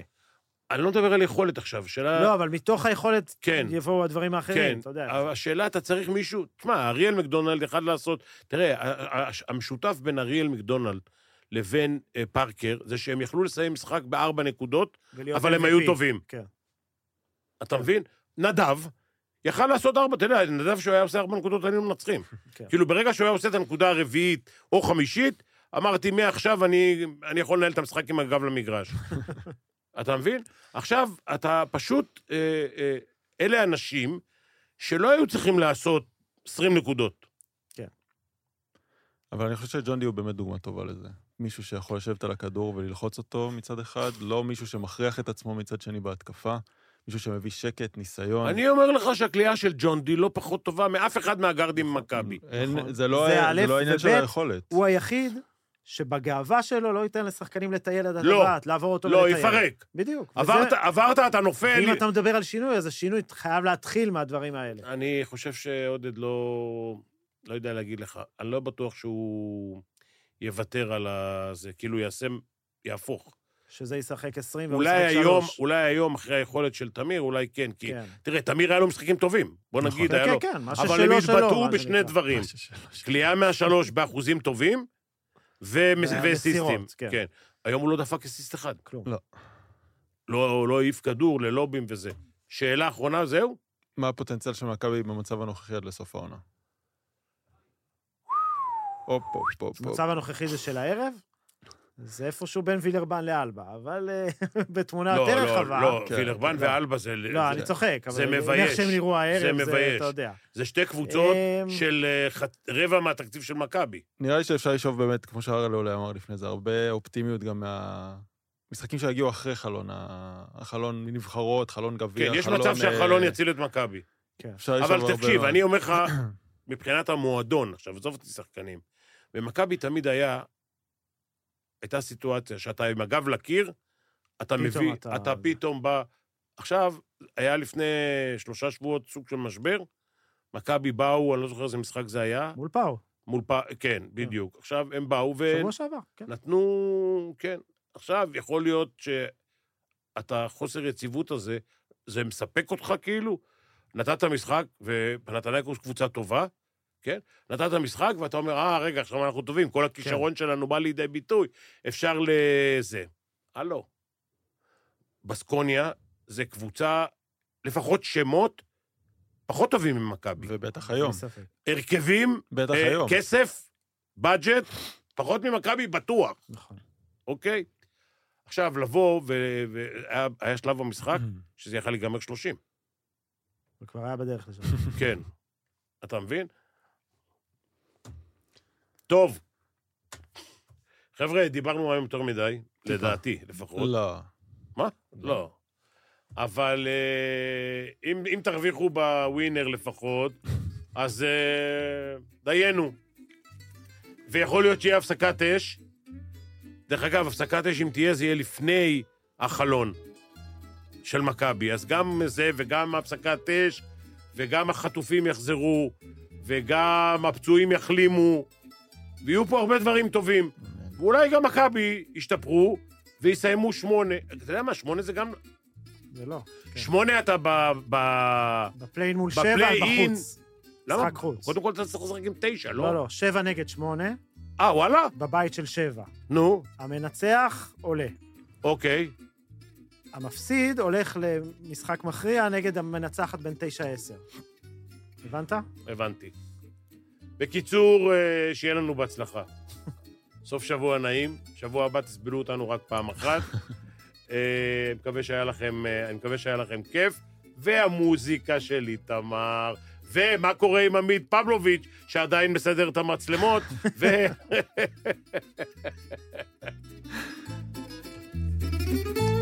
Speaker 2: אני לא מדבר על יכולת עכשיו, שאלה...
Speaker 4: לא, אבל מתוך היכולת
Speaker 2: כן.
Speaker 4: יבואו הדברים האחרים,
Speaker 2: כן,
Speaker 4: אתה יודע.
Speaker 2: השאלה, אתה צריך מישהו... תשמע, אריאל מקדונלד יכל לעשות... תראה, ה- ה- המשותף בין אריאל מקדונלד לבין אה, פארקר, זה שהם יכלו לסיים משחק בארבע נקודות,
Speaker 4: ולהיות
Speaker 2: אבל הם
Speaker 4: MVP.
Speaker 2: היו טובים.
Speaker 4: כן.
Speaker 2: אתה מבין? נדב יכל לעשות ארבע, אתה יודע, נדב שהוא היה עושה ארבע נקודות, היינו מנצחים.
Speaker 4: כן.
Speaker 2: כאילו, ברגע שהוא היה עושה את הנקודה הרביעית או חמישית, אמרתי, מעכשיו אני, אני יכול לנהל את המשחק עם הגב למגרש. אתה מבין? עכשיו, אתה פשוט... אה, אה, אלה אנשים שלא היו צריכים לעשות 20 נקודות.
Speaker 3: אבל אני חושב שג'ון די הוא באמת דוגמה טובה לזה. מישהו שיכול לשבת על הכדור וללחוץ אותו מצד אחד, לא מישהו שמכריח את עצמו מצד שני בהתקפה, מישהו שמביא שקט,
Speaker 4: נכון.
Speaker 3: ניסיון.
Speaker 2: אני אומר לך שהקליעה של ג'ון די לא פחות טובה מאף אחד מהגארדים במכבי.
Speaker 3: אין,
Speaker 4: נכון.
Speaker 3: זה לא
Speaker 4: זה
Speaker 3: ה-
Speaker 4: א'
Speaker 3: זה לא העניין של
Speaker 4: וב',
Speaker 3: היכולת.
Speaker 4: הוא היחיד שבגאווה שלו לא ייתן לשחקנים לטייל עד
Speaker 2: לא.
Speaker 4: הטבעת, לעבור אותו
Speaker 2: לא,
Speaker 4: ולטייל.
Speaker 2: יפרק.
Speaker 4: בדיוק. וזה-
Speaker 2: עברת, עברת, אתה נופל.
Speaker 4: ואם אתה מדבר על שינוי, אז השינוי חייב להתחיל מהדברים האלה.
Speaker 2: אני חושב שעודד לא... לא יודע להגיד לך. אני לא בטוח שהוא יוותר על זה, כאילו יעשה... יהפוך.
Speaker 4: שזה ישחק 20 והוא
Speaker 2: אולי
Speaker 4: ישחק
Speaker 2: היום,
Speaker 4: 3.
Speaker 2: אולי היום, אחרי היכולת של תמיר, אולי כן, כי...
Speaker 4: כן,
Speaker 2: תראה, תמיר היה לו משחקים טובים. בוא
Speaker 3: נכון.
Speaker 2: נגיד, היה
Speaker 4: כן,
Speaker 2: לו...
Speaker 4: כן, מה ששלו שלו.
Speaker 2: אבל הם
Speaker 4: מה
Speaker 2: התבטאו בשני
Speaker 4: שנקרא.
Speaker 2: דברים. קליעה מהשלוש באחוזים טובים, ומס-
Speaker 4: והמסירות,
Speaker 2: ואסיסטים.
Speaker 4: כן.
Speaker 2: כן. היום הוא לא דפק אסיסט אחד.
Speaker 4: כלום.
Speaker 3: לא.
Speaker 2: לא הוא לא העיף כדור ללובים וזה. שאלה אחרונה, זהו?
Speaker 3: מה הפוטנציאל של מכבי במצב הנוכחי עד לסוף העונה? הופ, הופ, הופ, הופ.
Speaker 4: המצב הנוכחי זה של הערב? זה איפשהו בין וילרבן לאלבה, אבל אה, בתמונה
Speaker 2: לא,
Speaker 4: יותר
Speaker 2: לא,
Speaker 4: רחבה.
Speaker 2: לא,
Speaker 3: כן.
Speaker 2: וילרבן
Speaker 3: לא.
Speaker 2: ואלבה זה...
Speaker 4: לא, אני
Speaker 2: זה-
Speaker 4: צוחק, אבל...
Speaker 2: זה
Speaker 4: אני מניח
Speaker 2: מבייש.
Speaker 4: שהם נראו הערב,
Speaker 2: זה מבייש.
Speaker 4: אתה יודע.
Speaker 2: זה שתי קבוצות
Speaker 4: אמ,
Speaker 2: של אה, חת- רבע מהתקציב של מכבי.
Speaker 3: נראה לי שאפשר לשאוב באמת, כמו שהרל עולה אמר לפני זה, הרבה אופטימיות גם מה... משחקים שהגיעו אחרי חלון, ה- החלון נבחרות, חלון גביע,
Speaker 2: כן, יש
Speaker 3: חלון,
Speaker 2: מצב שהחלון
Speaker 3: אה,
Speaker 2: יציל את מכבי.
Speaker 3: אפשר לשאוב הרבה...
Speaker 2: אבל תקשיב,
Speaker 3: מאוד.
Speaker 2: אני אומר לך, מבחינת המועדון, עכשיו, עזוב אותי שחקנים, במכבי תמיד היה, הייתה סיטואציה שאתה עם הגב לקיר, אתה
Speaker 4: פתאום
Speaker 2: מביא,
Speaker 4: אתה-
Speaker 2: אתה פתאום בא... עכשיו, היה לפני שלושה שבועות סוג של משבר, מכבי באו, אני לא זוכר איזה משחק זה היה,
Speaker 4: מול פאו,
Speaker 2: מול פ... כן, בדיוק. עכשיו, הם באו
Speaker 4: שבוע שעבר, כן.
Speaker 2: נכון, ונתנו... כן. עכשיו, יכול להיות שאתה, חוסר יציבות הזה, זה מספק אותך כאילו? נתת משחק, ונתנייקוס קבוצה טובה, כן? נתת משחק, ואתה אומר, אה, רגע, עכשיו אנחנו טובים, כל הכישרון שלנו בא לידי ביטוי, אפשר לזה. הלו. בסקוניה זה קבוצה, לפחות שמות, פחות טובים ממכבי.
Speaker 3: ובטח היום,
Speaker 4: אין ספק.
Speaker 2: הרכבים,
Speaker 3: בטח
Speaker 2: אה,
Speaker 3: היום.
Speaker 2: כסף, בדג'ט, פחות ממכבי בטוח,
Speaker 4: נכון.
Speaker 2: אוקיי? עכשיו, לבוא, והיה היה שלב במשחק שזה יכל להיגמר 30.
Speaker 4: הוא כבר היה בדרך לשם.
Speaker 2: כן. אתה מבין? טוב. חבר'ה, דיברנו היום יותר מדי, לדעתי לפחות.
Speaker 3: לא.
Speaker 2: מה? לא. אבל אה, אם, אם תרוויחו בווינר לפחות, אז אה, דיינו. ויכול להיות שיהיה הפסקת אש. דרך אגב, הפסקת אש, אם תהיה, זה יהיה לפני החלון של מכבי. אז גם זה וגם הפסקת אש, וגם החטופים יחזרו, וגם הפצועים יחלימו, ויהיו פה הרבה דברים טובים. ואולי גם מכבי ישתפרו ויסיימו שמונה. אתה יודע מה, שמונה זה גם...
Speaker 4: זה לא. כן.
Speaker 2: שמונה אתה ב... ב...
Speaker 4: בפליין מול שבע,
Speaker 2: בפליי-אין.
Speaker 4: בחוץ.
Speaker 2: למה?
Speaker 4: משחק חוץ.
Speaker 2: קודם כל אתה צריך לשחק עם תשע,
Speaker 4: לא,
Speaker 2: לא?
Speaker 4: לא, שבע נגד שמונה,
Speaker 2: אה, וואלה?
Speaker 4: בבית של שבע.
Speaker 2: נו,
Speaker 4: המנצח עולה.
Speaker 2: אוקיי.
Speaker 4: המפסיד הולך למשחק מכריע נגד המנצחת בין 9-10. הבנת?
Speaker 2: הבנתי. בקיצור, אה, שיהיה לנו בהצלחה. סוף שבוע נעים, שבוע הבא תסבלו אותנו רק פעם אחת. אה, מקווה שהיה לכם, אה, אני מקווה שהיה לכם כיף. והמוזיקה של איתמר, ומה קורה עם עמית פבלוביץ', שעדיין מסדר את המצלמות, ו...